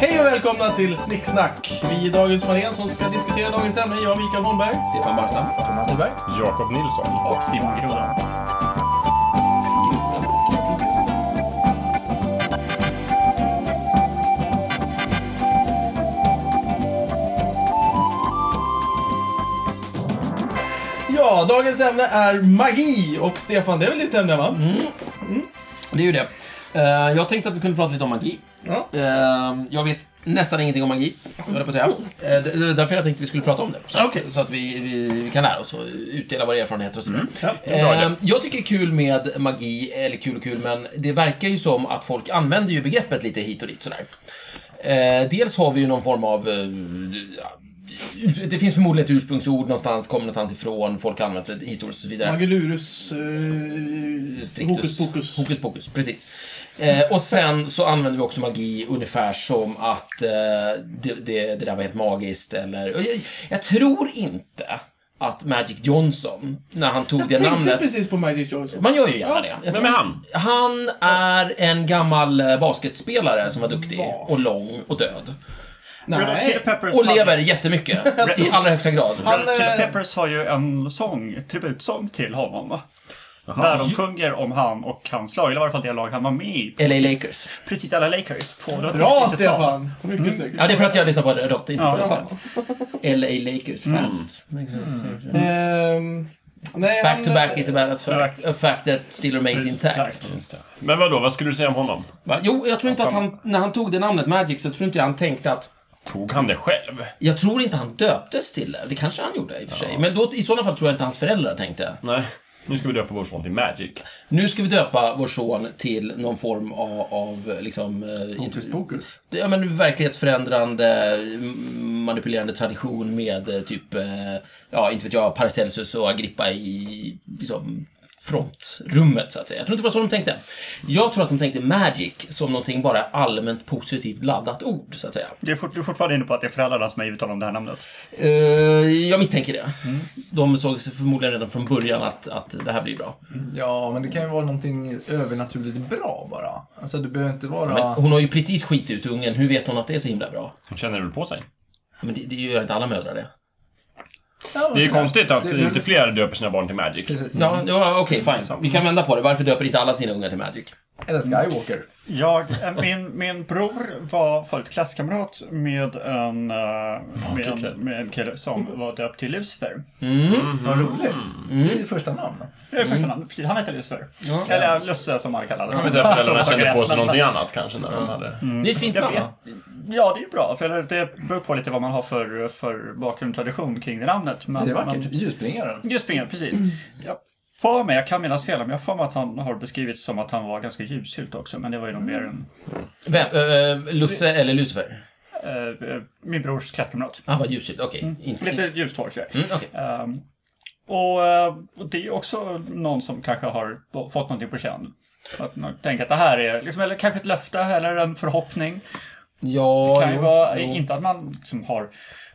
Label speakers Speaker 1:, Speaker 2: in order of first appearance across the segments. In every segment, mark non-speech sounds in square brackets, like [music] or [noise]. Speaker 1: Hej och välkomna till Snicksnack! Vi är Dagens Marén som ska diskutera dagens ämne. Jag, Mikael Holmberg.
Speaker 2: Stefan Barstam.
Speaker 1: Thomas Nyberg.
Speaker 3: Jakob Nilsson.
Speaker 2: Och Simon Grodan.
Speaker 1: Ja, dagens ämne är magi. Och Stefan, det är väl ditt ämne va?
Speaker 2: Det är ju det. Eh, Jag tänkte att vi kunde prata lite om magi.
Speaker 1: Ja.
Speaker 2: Eh, Jag vet nästan ingenting om magi, höll jag på att säga. Eh, det- det är Därför jag tänkte vi skulle prata om det. Så,
Speaker 1: Okej.
Speaker 2: så att vi, vi, vi kan lära oss och utdela våra erfarenheter och sådär.
Speaker 1: Ja,
Speaker 3: bra idé.
Speaker 2: Eh, Jag tycker det är kul med magi, eller kul och kul, men det verkar ju som att folk använder ju begreppet lite hit och dit sådär. Eh, Dels har vi ju någon form av... eh, ja, Det finns förmodligen ett ursprungsord någonstans, kommer någonstans ifrån, folk har använt det historiskt och så vidare.
Speaker 1: Magilurus... Eh,
Speaker 2: Strictus.
Speaker 1: hokus pokus.
Speaker 2: Hokus pokus, precis. Eh, och sen så använder vi också magi ungefär som att eh, det, det, det där var helt magiskt eller... och Jag, jag tror inte att Magic Johnson, när han tog det
Speaker 1: Jag tänkte
Speaker 2: namnet...
Speaker 1: precis på Magic Johnson.
Speaker 2: Man gör ju gärna
Speaker 1: Ja,
Speaker 2: det. Jag
Speaker 3: Vem
Speaker 2: tror-
Speaker 3: är han?
Speaker 2: Han är en gammal eh, basketspelare som var duktig
Speaker 1: Va?
Speaker 2: och lång och död.
Speaker 4: Red Hot Chili
Speaker 1: Nej.
Speaker 4: Peppers,
Speaker 2: Och
Speaker 4: hade-
Speaker 1: [laughs]
Speaker 2: lever jättemycket. I allra högsta grad.
Speaker 4: Red Hot
Speaker 1: Han,
Speaker 4: Chili
Speaker 1: eh,
Speaker 4: Peppers har ju en sång, tributsång till honom. va? Där de sjunger om han och hans lag, eller i varje fall det lag han var med i.
Speaker 2: LA Lakers.
Speaker 4: Precis, alla Lakers. På det
Speaker 1: Bra
Speaker 4: var riktigt tal.
Speaker 1: Stefan! Mycket snyggt.
Speaker 2: Ja, det är för att jag lyssnar på Red Hot, inte för
Speaker 4: Ja,
Speaker 2: att jag
Speaker 4: ja.
Speaker 2: sa det. LA Lakers, fast.
Speaker 3: Mm.
Speaker 1: Ehm, nej,
Speaker 2: Back
Speaker 1: han- eh,
Speaker 2: to back is a badass fact.
Speaker 4: Correct.
Speaker 2: A fact that still remains intact.
Speaker 4: Där.
Speaker 3: Men vadå, vad skulle du säga om honom?
Speaker 2: Va? Jo, jag tror inte att han, när han tog det namnet Magic, så tror inte jag han tänkte att...
Speaker 3: Tog han det själv?
Speaker 2: Jag tror inte han döptes till det. Det kanske han gjorde i och för sig. Men då, i sådana fall tror jag inte hans föräldrar tänkte.
Speaker 3: Nej. Nu ska vi döpa vår son till Magic.
Speaker 2: Nu ska vi döpa vår son till någon form av, av liksom... eh,
Speaker 1: Hokus pokus.
Speaker 2: Ja, men verklighetsförändrande, mm, manipulerande tradition med eh, typ, eh, ja, inte vet jag, Paracelsus och Agrippa i liksom, frontrummet, så att säga. Jag tror inte det var så de tänkte. Jag tror att de tänkte magic som någonting bara allmänt positivt laddat ord, så att säga.
Speaker 4: Du är, fort, du är fortfarande inne på att det är föräldrarna som har givit honom det här namnet.
Speaker 2: Eh, jag misstänker det. De såg sig förmodligen redan från början att, att det här blir bra.
Speaker 5: Ja, men det kan ju vara någonting övernaturligt bra bara. Alltså det behöver inte vara...
Speaker 2: Men hon har ju precis skit ut ungen, hur vet hon att det är så himla bra?
Speaker 3: Han känner väl på sig?
Speaker 2: Men det, det gör inte alla mödrar det.
Speaker 5: Ja,
Speaker 3: Det är ju
Speaker 5: sådär.
Speaker 3: konstigt att
Speaker 5: Det- det-
Speaker 3: inte fler döper sina barn till Magic.
Speaker 5: Precis.
Speaker 2: Ja, ja okej, fine. Vi kan vända på det. Varför döper inte alla sina ungar till magic?
Speaker 5: Eller Skywalker.
Speaker 4: Jag, eh, min, min bror var förut klasskamrat med en, eh, med en, med en kille som var döpt till Lucifer.
Speaker 5: Vad roligt.
Speaker 1: Mm.
Speaker 5: Det är första namn.
Speaker 4: Det är första namnet, precis. Han hette Lucifer. Eller Lusse som han kallades.
Speaker 3: Men sen föräldrarna kände på sig
Speaker 4: Men-
Speaker 3: någonting annat kanske när de hade...
Speaker 2: Det är ett fint
Speaker 4: Jag
Speaker 2: namn.
Speaker 4: vet. Ja, det är ju bra. För det beror på lite vad man har för, för bakgrund och tradition kring det namnet. Men,
Speaker 5: Det är vackert.
Speaker 4: men-
Speaker 5: Ljusbringaren.
Speaker 4: Just pengar, precis. Jag för mig, jag kan minnas fel, men jag för mig att han har beskrivits som att han var ganska ljushylt också. Men det var ju nog mer en,
Speaker 2: Vem? Eh, Lusse eller Lucifer?
Speaker 4: eh, eh, min brors klasskamrat.
Speaker 2: Han var ljusigt, okej. Inte-
Speaker 4: Mm. Lite ljust hår, tror jag.
Speaker 2: Mm, okej.
Speaker 4: Ehm, och, eh, och det är ju också någon som kanske har fått någonting på känn. Att man tänker att det här är liksom, eller kanske ett löfte eller en förhoppning.
Speaker 2: Ja,
Speaker 4: kan ju
Speaker 2: jo,
Speaker 4: vara,
Speaker 2: jo.
Speaker 4: inte att man liksom har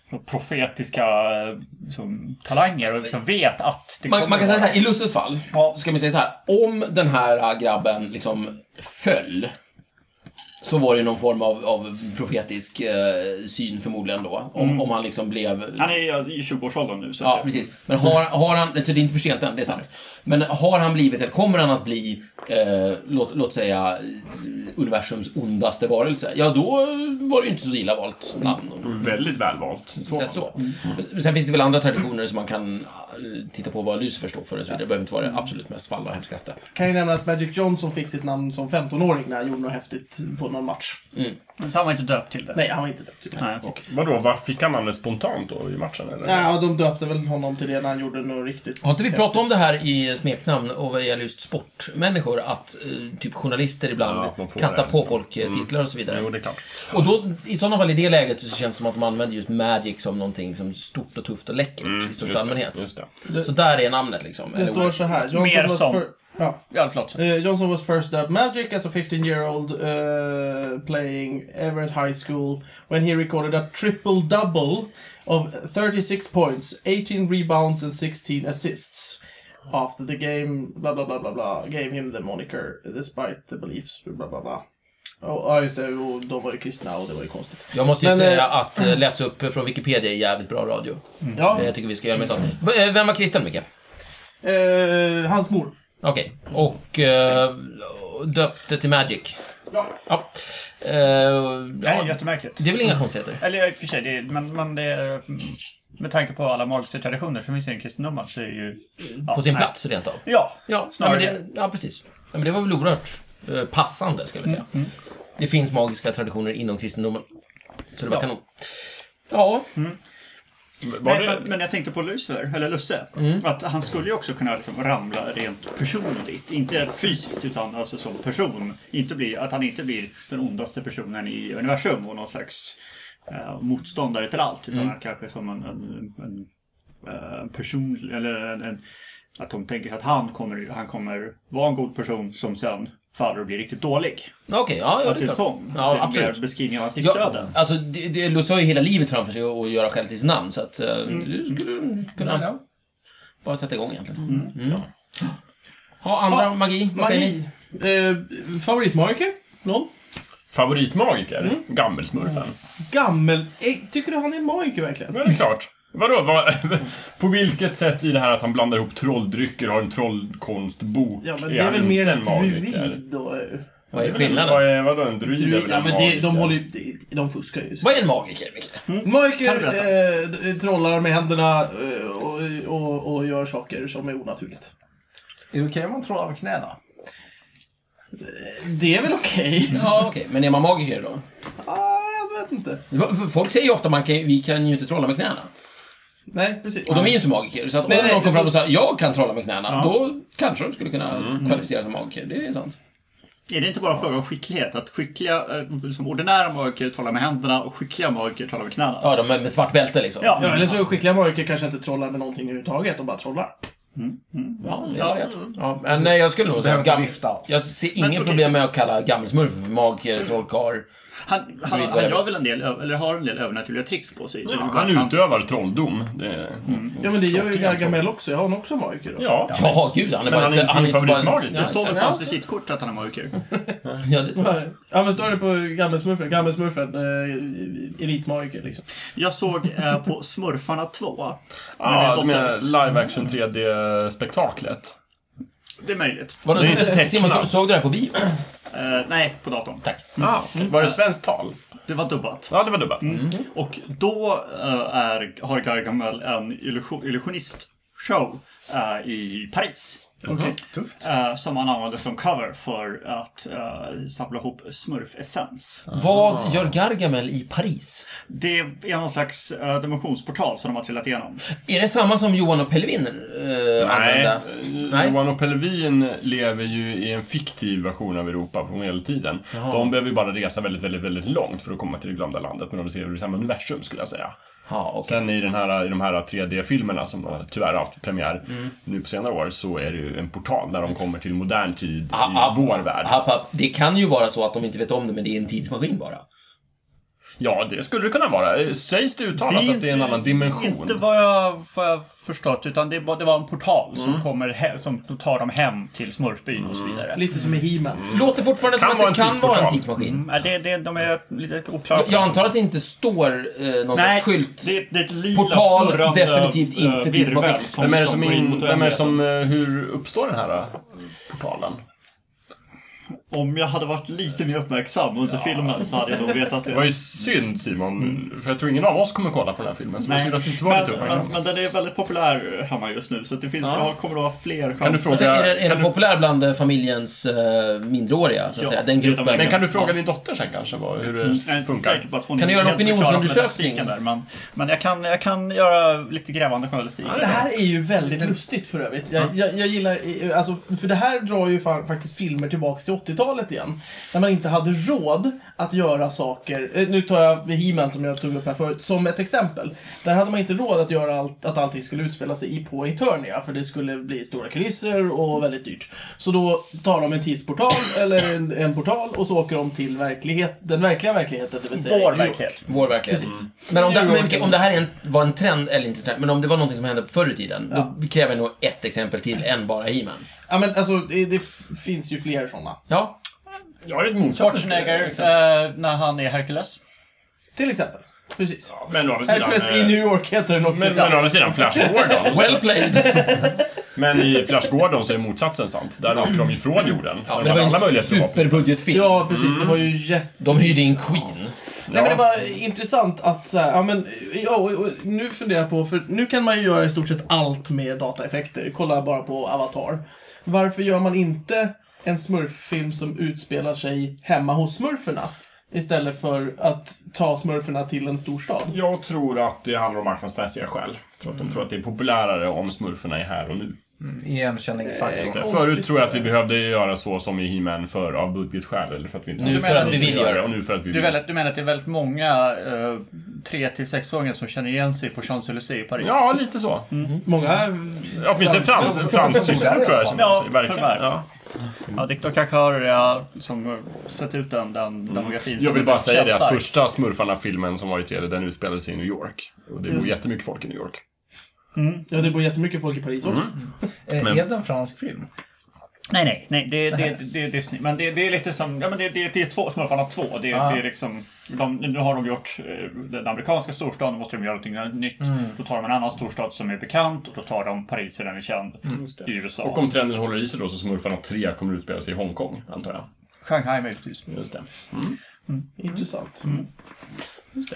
Speaker 4: så profetiska eh, liksom, talanger och liksom vet att det
Speaker 2: Man,
Speaker 4: kommer
Speaker 2: man kan
Speaker 4: vara-
Speaker 2: säga så här, i Lusses fall,
Speaker 4: Ja.
Speaker 2: ska man säga så här, om den här äh, grabben liksom föll, så var det ju någon form av, av profetisk eh, syn förmodligen då. Om, om han liksom blev...
Speaker 4: Mm. Han är ju i 20-årsåldern nu. Så
Speaker 2: Ja,
Speaker 4: att-
Speaker 2: precis. Men har, har han, så det är inte för sent än, det är sant. Men har han blivit, eller kommer han att bli, eh, låt, låt säga, eh, universums ondaste varelse? Ja, då eh, var det ju inte så illa valt namn. om
Speaker 3: Väldigt välvalt. i så
Speaker 2: Sett
Speaker 3: fall.
Speaker 2: Mm. så. Sen finns det Mm. väl andra traditioner som man kan eh, titta på vad Lucifer står för och så vidare. Det behöver inte vara det absolut mest falla och hemskaste.
Speaker 1: Kan ju nämna att Magic Johnson fick sitt namn som 15-åring när han gjorde något häftigt på någon match.
Speaker 5: Mm.
Speaker 4: Så han var inte döpt till det.
Speaker 1: Nej, han var inte döpt till det.
Speaker 4: Nej.
Speaker 3: Vadå, var fick han namnet spontant då i matchen eller?
Speaker 1: Ja, de döpte väl honom till det när han gjorde något riktigt.
Speaker 2: Har inte vi pratat om det här i smeknamn och vad gäller just sportmänniskor? Att eh, typ journalister ibland
Speaker 3: Ja, att man får Mm.
Speaker 2: kastar
Speaker 3: det,
Speaker 2: på
Speaker 3: liksom.
Speaker 2: folk eh, titlar och så vidare.
Speaker 3: Jo, det är klart.
Speaker 2: Och då, i sådana fall i det läget så känns det som att de använder just Magic som någonting som stort och tufft och läckert
Speaker 4: Mm,
Speaker 2: i
Speaker 3: Just
Speaker 2: största
Speaker 3: det,
Speaker 2: allmänhet.
Speaker 3: Just det.
Speaker 2: Så där är namnet liksom.
Speaker 1: Det
Speaker 2: eller
Speaker 1: står
Speaker 2: ordet.
Speaker 1: så här.
Speaker 4: Mer
Speaker 1: was
Speaker 4: som.
Speaker 1: fir- ja.
Speaker 4: Ja, förlåt.
Speaker 1: Eh, Johnson was first dubbed magic as a 15 year old uh, playing Everett High School when he recorded a triple double of 36 points, 18 rebounds, and 16 assists. After the game, blah blah blah blah blah, gave him the moniker despite the beliefs, blah blah blah. Ja, ja, just det. Och de var ju kristna och det var ju konstigt.
Speaker 2: Jag måste ju
Speaker 1: Men,
Speaker 2: säga
Speaker 1: eh,
Speaker 2: att eh, läsa upp från Wikipedia är jävligt bra radio.
Speaker 1: Ja,
Speaker 2: Eh, Jag tycker vi ska göra mer sånt. V- eh, Vem var kristen, Micke?
Speaker 1: eh, hans mor.
Speaker 2: Okej. Och eh, döpte till Magic.
Speaker 1: Ja.
Speaker 2: Ja. Eh,
Speaker 4: Det här är
Speaker 2: ja,
Speaker 4: jättemärkligt.
Speaker 2: det är väl inga konstigheter?
Speaker 4: Eller i och för sig, det är, men, men det är, mm, med tanke på alla magiska traditioner som finns i den kristendomen så är det ju... Ja,
Speaker 2: På sin
Speaker 4: nej.
Speaker 2: plats rent av.
Speaker 4: Ja,
Speaker 2: Ja, ja, men
Speaker 4: snarare
Speaker 2: det, ja precis. Mm, Ja, men det var väl oerhört eh, passande, skulle jag säga. Det finns magiska traditioner inom kristendomen. Så det var
Speaker 4: Ja.
Speaker 2: kanon. Mm. Ja,
Speaker 3: Var
Speaker 4: Nej,
Speaker 3: det...
Speaker 4: men, men jag tänkte på Lucifer, eller Lusse.
Speaker 2: Mm.
Speaker 4: Att han skulle ju också kunna liksom ramla rent personligt. Inte fysiskt, utan alltså som person. Inte bli, att han inte blir den ondaste personen i universum och någon slags eh, motståndare till allt. Utan
Speaker 2: Mm.
Speaker 4: han kanske som en, en, en, eh, en person, eller en, en, att de tänker sig att han kommer, han kommer vara en god person som sen faller och blir riktigt dålig.
Speaker 2: okej. ja, ja,
Speaker 4: Att det är
Speaker 2: klart.
Speaker 4: sån
Speaker 2: Ja,
Speaker 4: det är
Speaker 2: absolut.
Speaker 4: mer beskrivning av hans
Speaker 2: Ja,
Speaker 4: livsöden.
Speaker 2: alltså, det, det, Lusse har ju hela livet framför sig att göra skäl till sitt namn, så att eh, du skulle kunna
Speaker 5: Ja, ja.
Speaker 2: bara sätta igång egentligen. Mm. Ja, andra
Speaker 1: Ja,
Speaker 2: magi? Vad säger ni?
Speaker 1: Magi. Eh, favoritmarker? Någon?
Speaker 3: Favoritmagiker?
Speaker 1: Mm.
Speaker 3: Gammelsmurfen.
Speaker 1: Gammel... Eh, tycker du han är magiker verkligen?
Speaker 3: Men det är klart. Vadå? Vad, [laughs] på vilket sätt i det här att han blandar ihop trolldrycker och har en trollkonstbok?
Speaker 1: Ja, men
Speaker 3: är
Speaker 1: det är
Speaker 3: han
Speaker 1: väl
Speaker 3: inte
Speaker 1: mer
Speaker 3: en
Speaker 1: en
Speaker 3: magiker?
Speaker 1: druid då? eh.
Speaker 2: Vad är
Speaker 3: Vad
Speaker 2: skillnaden?
Speaker 3: är, vadå, en druid? är
Speaker 1: Druid,
Speaker 3: väl
Speaker 1: ja,
Speaker 3: en
Speaker 1: men det, de
Speaker 3: magiker?
Speaker 1: håller ju... de- De fuskar ju.
Speaker 2: Vad är en magiker, Micke?
Speaker 1: Mörker
Speaker 4: Kan du
Speaker 1: eh, d- trollar med händerna eh, och, och, och gör saker som är onaturligt.
Speaker 5: Är det okej om man trollar med knäna?
Speaker 1: Det är väl okej? [laughs]
Speaker 2: Ja, okej. Men är man magiker då?
Speaker 1: Ah, jag vet inte.
Speaker 2: Va- för Folk säger ju ofta man kan, vi kan ju inte trolla med knäna.
Speaker 1: Nej, precis.
Speaker 2: Och de är ju inte magiker. Så att om
Speaker 1: Nej, nej,
Speaker 2: någon kom
Speaker 1: så-
Speaker 2: fram och sa jag kan trolla med knäna,
Speaker 4: Ja.
Speaker 2: då kanske de skulle kunna kvalificera sig som magiker. Det är sant.
Speaker 4: Är det inte bara en fråga om skicklighet? Att skickliga, eh, liksom ordinära magiker talar med händerna och skickliga magiker talar med knäna?
Speaker 2: Ja, de med, med svart bälte liksom.
Speaker 4: Ja.
Speaker 1: Ja, eller så skickliga mörker kanske inte trollar med någonting överhuvudtaget, de bara trollar.
Speaker 2: Ja, det
Speaker 4: Ja.
Speaker 2: är rätt. Ja, men nej, jag skulle nog säga
Speaker 5: Behöver inte
Speaker 2: gamm-
Speaker 5: vifta alls.
Speaker 2: Jag ser
Speaker 4: Men,
Speaker 2: inget
Speaker 4: okej,
Speaker 2: problem med att kalla gammelsmurfen för magiker, trollkarl.
Speaker 4: Han, han,
Speaker 2: Druid,
Speaker 4: han
Speaker 2: whatever.
Speaker 4: gör väl en del, ö- eller har en del övernaturliga tricks på sig. Det är väl
Speaker 3: Ja,
Speaker 4: bara
Speaker 3: han
Speaker 4: att
Speaker 3: utövar trolldom. Det,
Speaker 1: Ja, men det gör ju
Speaker 3: Klockren
Speaker 1: Gargamel också. Jag har honom också mörker. då.
Speaker 3: ja.
Speaker 2: Ja, gud, han är
Speaker 3: Men
Speaker 2: bara
Speaker 3: han är inte min
Speaker 2: bara-
Speaker 3: favoritmagiker.
Speaker 2: Ja,
Speaker 4: Det står väl på
Speaker 2: exakt.
Speaker 4: hans visitkort att han är magiker?
Speaker 2: Ja, det tror jag.
Speaker 1: Ja, men står det på Gammelsmurfen? Gammelsmurfen, eh, elitmarker liksom.
Speaker 4: Jag såg eh, på Smurfarna 2.
Speaker 3: Ja,
Speaker 4: Med min dotter.
Speaker 3: med live action 3D-spektaklet.
Speaker 4: Det är möjligt.
Speaker 2: Vadå,
Speaker 3: Det är inte
Speaker 2: Simon, så,
Speaker 3: tecknat.
Speaker 2: såg du det här på bio?
Speaker 4: Eh, nej, på datorn.
Speaker 2: Tack.
Speaker 1: Mm.
Speaker 3: Ah, Var det svenskt tal?
Speaker 4: Det var dubbat.
Speaker 3: Ja, det var dubbat.
Speaker 1: Mm.
Speaker 4: Och då eh, är, har Gargamel en illusion, illusionistshow eh, i Paris.
Speaker 1: Okej.
Speaker 5: Tufft.
Speaker 4: eh, som han använder som cover för att eh, samla ihop smurfessens.
Speaker 2: Vad gör Gargamel i Paris?
Speaker 4: Det är någon slags eh, dimensionsportal som de har trillat igenom.
Speaker 2: Är det samma som Johan och Pelvin eh, använde?
Speaker 3: Nej.
Speaker 2: Nej.
Speaker 3: Johan och Pelvin lever ju i en fiktiv version av Europa på medeltiden. De behöver ju bara resa väldigt, väldigt, väldigt långt för att komma till det glömda landet. Men de lever i samma universum skulle jag säga.
Speaker 2: Ja, okej.
Speaker 3: Sen i, den här, i de här 3D-filmerna som har tyvärr haft premiär nu på senare år så är det ju en portal där de kommer till modern tid i
Speaker 2: Ah, ah,
Speaker 3: vår värld.
Speaker 2: Happ, happ. Det kan ju vara så att de inte vet om det, men det är en tidsmaskin bara.
Speaker 3: Ja, det skulle det kunna vara. Sägs det uttalat att det är en annan dimension?
Speaker 4: Inte vad jag, vad jag förstått, utan det, var- det var en portal
Speaker 3: Mm.
Speaker 4: som, kommer he- som tar dem hem till smurfbyn och så vidare.
Speaker 1: Lite som i He-Man.
Speaker 2: Låter fortfarande som
Speaker 3: Kan
Speaker 2: att det
Speaker 3: vara en
Speaker 2: kan vara en
Speaker 3: tidsportal.
Speaker 2: tidsmaskin.
Speaker 4: Mm, eh, det, det, de är lite oklara.
Speaker 2: Jag, jag antar att det inte står eh, någon
Speaker 4: Nej,
Speaker 2: sorts skylt.
Speaker 4: det, det är ett lila
Speaker 2: Portal,
Speaker 4: snurrande,
Speaker 2: definitivt
Speaker 4: eh,
Speaker 2: inte tillbaka.
Speaker 4: virvel som-
Speaker 3: Vem är det
Speaker 4: som
Speaker 3: som,
Speaker 4: går in
Speaker 3: in,
Speaker 4: mot
Speaker 3: vem är det
Speaker 4: vänligheten.
Speaker 3: som eh, hur uppstår den här eh, portalen?
Speaker 4: Om jag hade varit lite mer uppmärksam under filmen så hade jag nog vetat
Speaker 3: Det var
Speaker 4: det.
Speaker 3: ju synd Simon, för jag tror ingen av oss kommer kolla på den här filmen. Så det var synd att du inte var lite
Speaker 4: Mm. men, men,
Speaker 3: uppmärksam.
Speaker 4: men den är väldigt populär hemma just nu så det finns, jag kommer att ha fler chanser.
Speaker 3: Kan du fråga-
Speaker 2: Alltså, är den, är
Speaker 3: Kan
Speaker 2: den
Speaker 3: du-
Speaker 2: populär bland eh, familjens eh, mindreåriga, så att
Speaker 4: Ja,
Speaker 2: säga? Den
Speaker 4: det är de
Speaker 2: gruppen.
Speaker 4: verkligen.
Speaker 3: Men kan du fråga
Speaker 2: Ja.
Speaker 3: din dotter sen kanske vad, hur
Speaker 4: Jag är
Speaker 3: det
Speaker 4: Mm. inte
Speaker 3: funkar?
Speaker 4: säker på att hon
Speaker 2: Kan
Speaker 4: är
Speaker 2: du göra en
Speaker 4: helt förklarad med
Speaker 2: opinionsundersökning?
Speaker 4: statistiken Där, men men jag, kan, jag kan göra lite grävande journalistik.
Speaker 1: Det här är ju väldigt lustigt för övrigt. Jag, jag, jag gillar, eh, alltså, för det här drar ju fa- faktiskt filmer tillbaks till 80-talet igen. När man inte hade råd att göra saker, eh, nu tar jag He-Man som jag tog upp här förut, som ett exempel. Där hade man inte råd att göra allt, att allting skulle utspela sig i på Eternia, för det skulle bli stora kulisser och väldigt dyrt. Så då tar de en tidsportal, [laughs] eller en, en portal, och så åker de till verklighet, den verkliga verkligheten, det vill säga
Speaker 4: Vår
Speaker 1: New York.
Speaker 4: verklighet.
Speaker 2: Vår verklighet. Men om det,
Speaker 1: New York.
Speaker 2: men om det här är en, var en trend, eller inte trend, men om det var någonting som hände förr i tiden, då kräver jag nog ett exempel till än bara He-Man.
Speaker 1: Ja men alltså, det, det f- finns ju fler sådana.
Speaker 2: Ja,
Speaker 3: Jag har ett motstånd.
Speaker 4: Schwarzenegger eh, när han är Hercules.
Speaker 1: Till exempel. Precis.
Speaker 3: Men å andra sidan...
Speaker 1: Hercules i
Speaker 3: eh,
Speaker 1: New York heter den också.
Speaker 3: Men, men å andra sidan Flash
Speaker 4: [laughs]
Speaker 3: Gordon.
Speaker 2: Well
Speaker 3: [laughs]
Speaker 2: played!
Speaker 3: Men i Flash Gordon så är motsatsen sant. Där åker de ifrån jorden.
Speaker 2: Ja, men
Speaker 3: de
Speaker 2: det var
Speaker 3: hade
Speaker 2: ju
Speaker 3: alla
Speaker 2: en
Speaker 3: möjligheter att vara
Speaker 2: superbudgetfilm.
Speaker 1: Ja, precis. Det var
Speaker 3: Mm.
Speaker 1: ju jätte...
Speaker 2: De hyrde in Queen.
Speaker 1: Nej, men det
Speaker 3: Ja.
Speaker 1: var intressant att så här, ja men, ja, och, och, nu funderar jag på, för nu kan man ju göra i stort sett allt med dataeffekter. Kolla bara på Avatar. Varför gör man inte en smurffilm som utspelar sig hemma hos smurferna? Istället för att ta smurferna till en storstad.
Speaker 3: Jag tror att det handlar om marknadsmässiga skäl. Jag tror att de tror att det är populärare om smurfarna är här och nu.
Speaker 5: Igenkänningsfaktor.
Speaker 1: Eh,
Speaker 3: Förut tror jag att vi behövde göra så som i He-Man för av budgetskäl. Eller för att vi inte
Speaker 2: Nu
Speaker 3: hade
Speaker 2: för att vi
Speaker 3: tid
Speaker 2: vill göra det.
Speaker 3: Och nu för att vi
Speaker 4: Du,
Speaker 3: vill.
Speaker 4: väldigt, du menar att det är väldigt många eh, 3-6-åringar som känner igen sig på Champs-Élysées i Paris?
Speaker 3: Ja, lite så.
Speaker 2: Mm.
Speaker 1: Många...
Speaker 3: Ja, finns det frans, franssysslor tror jag som
Speaker 4: Ja,
Speaker 3: verkligen.
Speaker 4: förvärv.
Speaker 3: Ja.
Speaker 4: Ja, det, de kanske har ja, som, eh, sett ut den, den demografin.
Speaker 3: Mm. Jag
Speaker 4: som
Speaker 3: vill bara
Speaker 4: en
Speaker 3: säga det att
Speaker 4: köpstark.
Speaker 3: första Smurfarna-filmen som var i 3D, den utspelade sig i New York. Och det bor jättemycket folk i New York.
Speaker 1: Ja, det bor jättemycket folk i Paris också.
Speaker 3: Mm.
Speaker 5: Eh,
Speaker 3: Men-
Speaker 5: Är det en fransk film?
Speaker 4: Nej, nej, nej. Det, det, det, det, det är snyggt. Men det, det är lite som... Ja, men det, det, det är två Smurfarna 2. Det,
Speaker 5: Ah.
Speaker 4: det är liksom... De, nu har de gjort eh, den amerikanska storstaden, då måste de göra någonting nytt. Då tar de en annan storstad som är bekant och då tar de Paris, där den är känd, i USA.
Speaker 3: Och om trenden håller i sig då så Smurfarna 3 kommer att utspela sig i Hongkong, antar jag.
Speaker 4: Shanghai möjligtvis.
Speaker 3: Just det.
Speaker 1: Intressant. De gör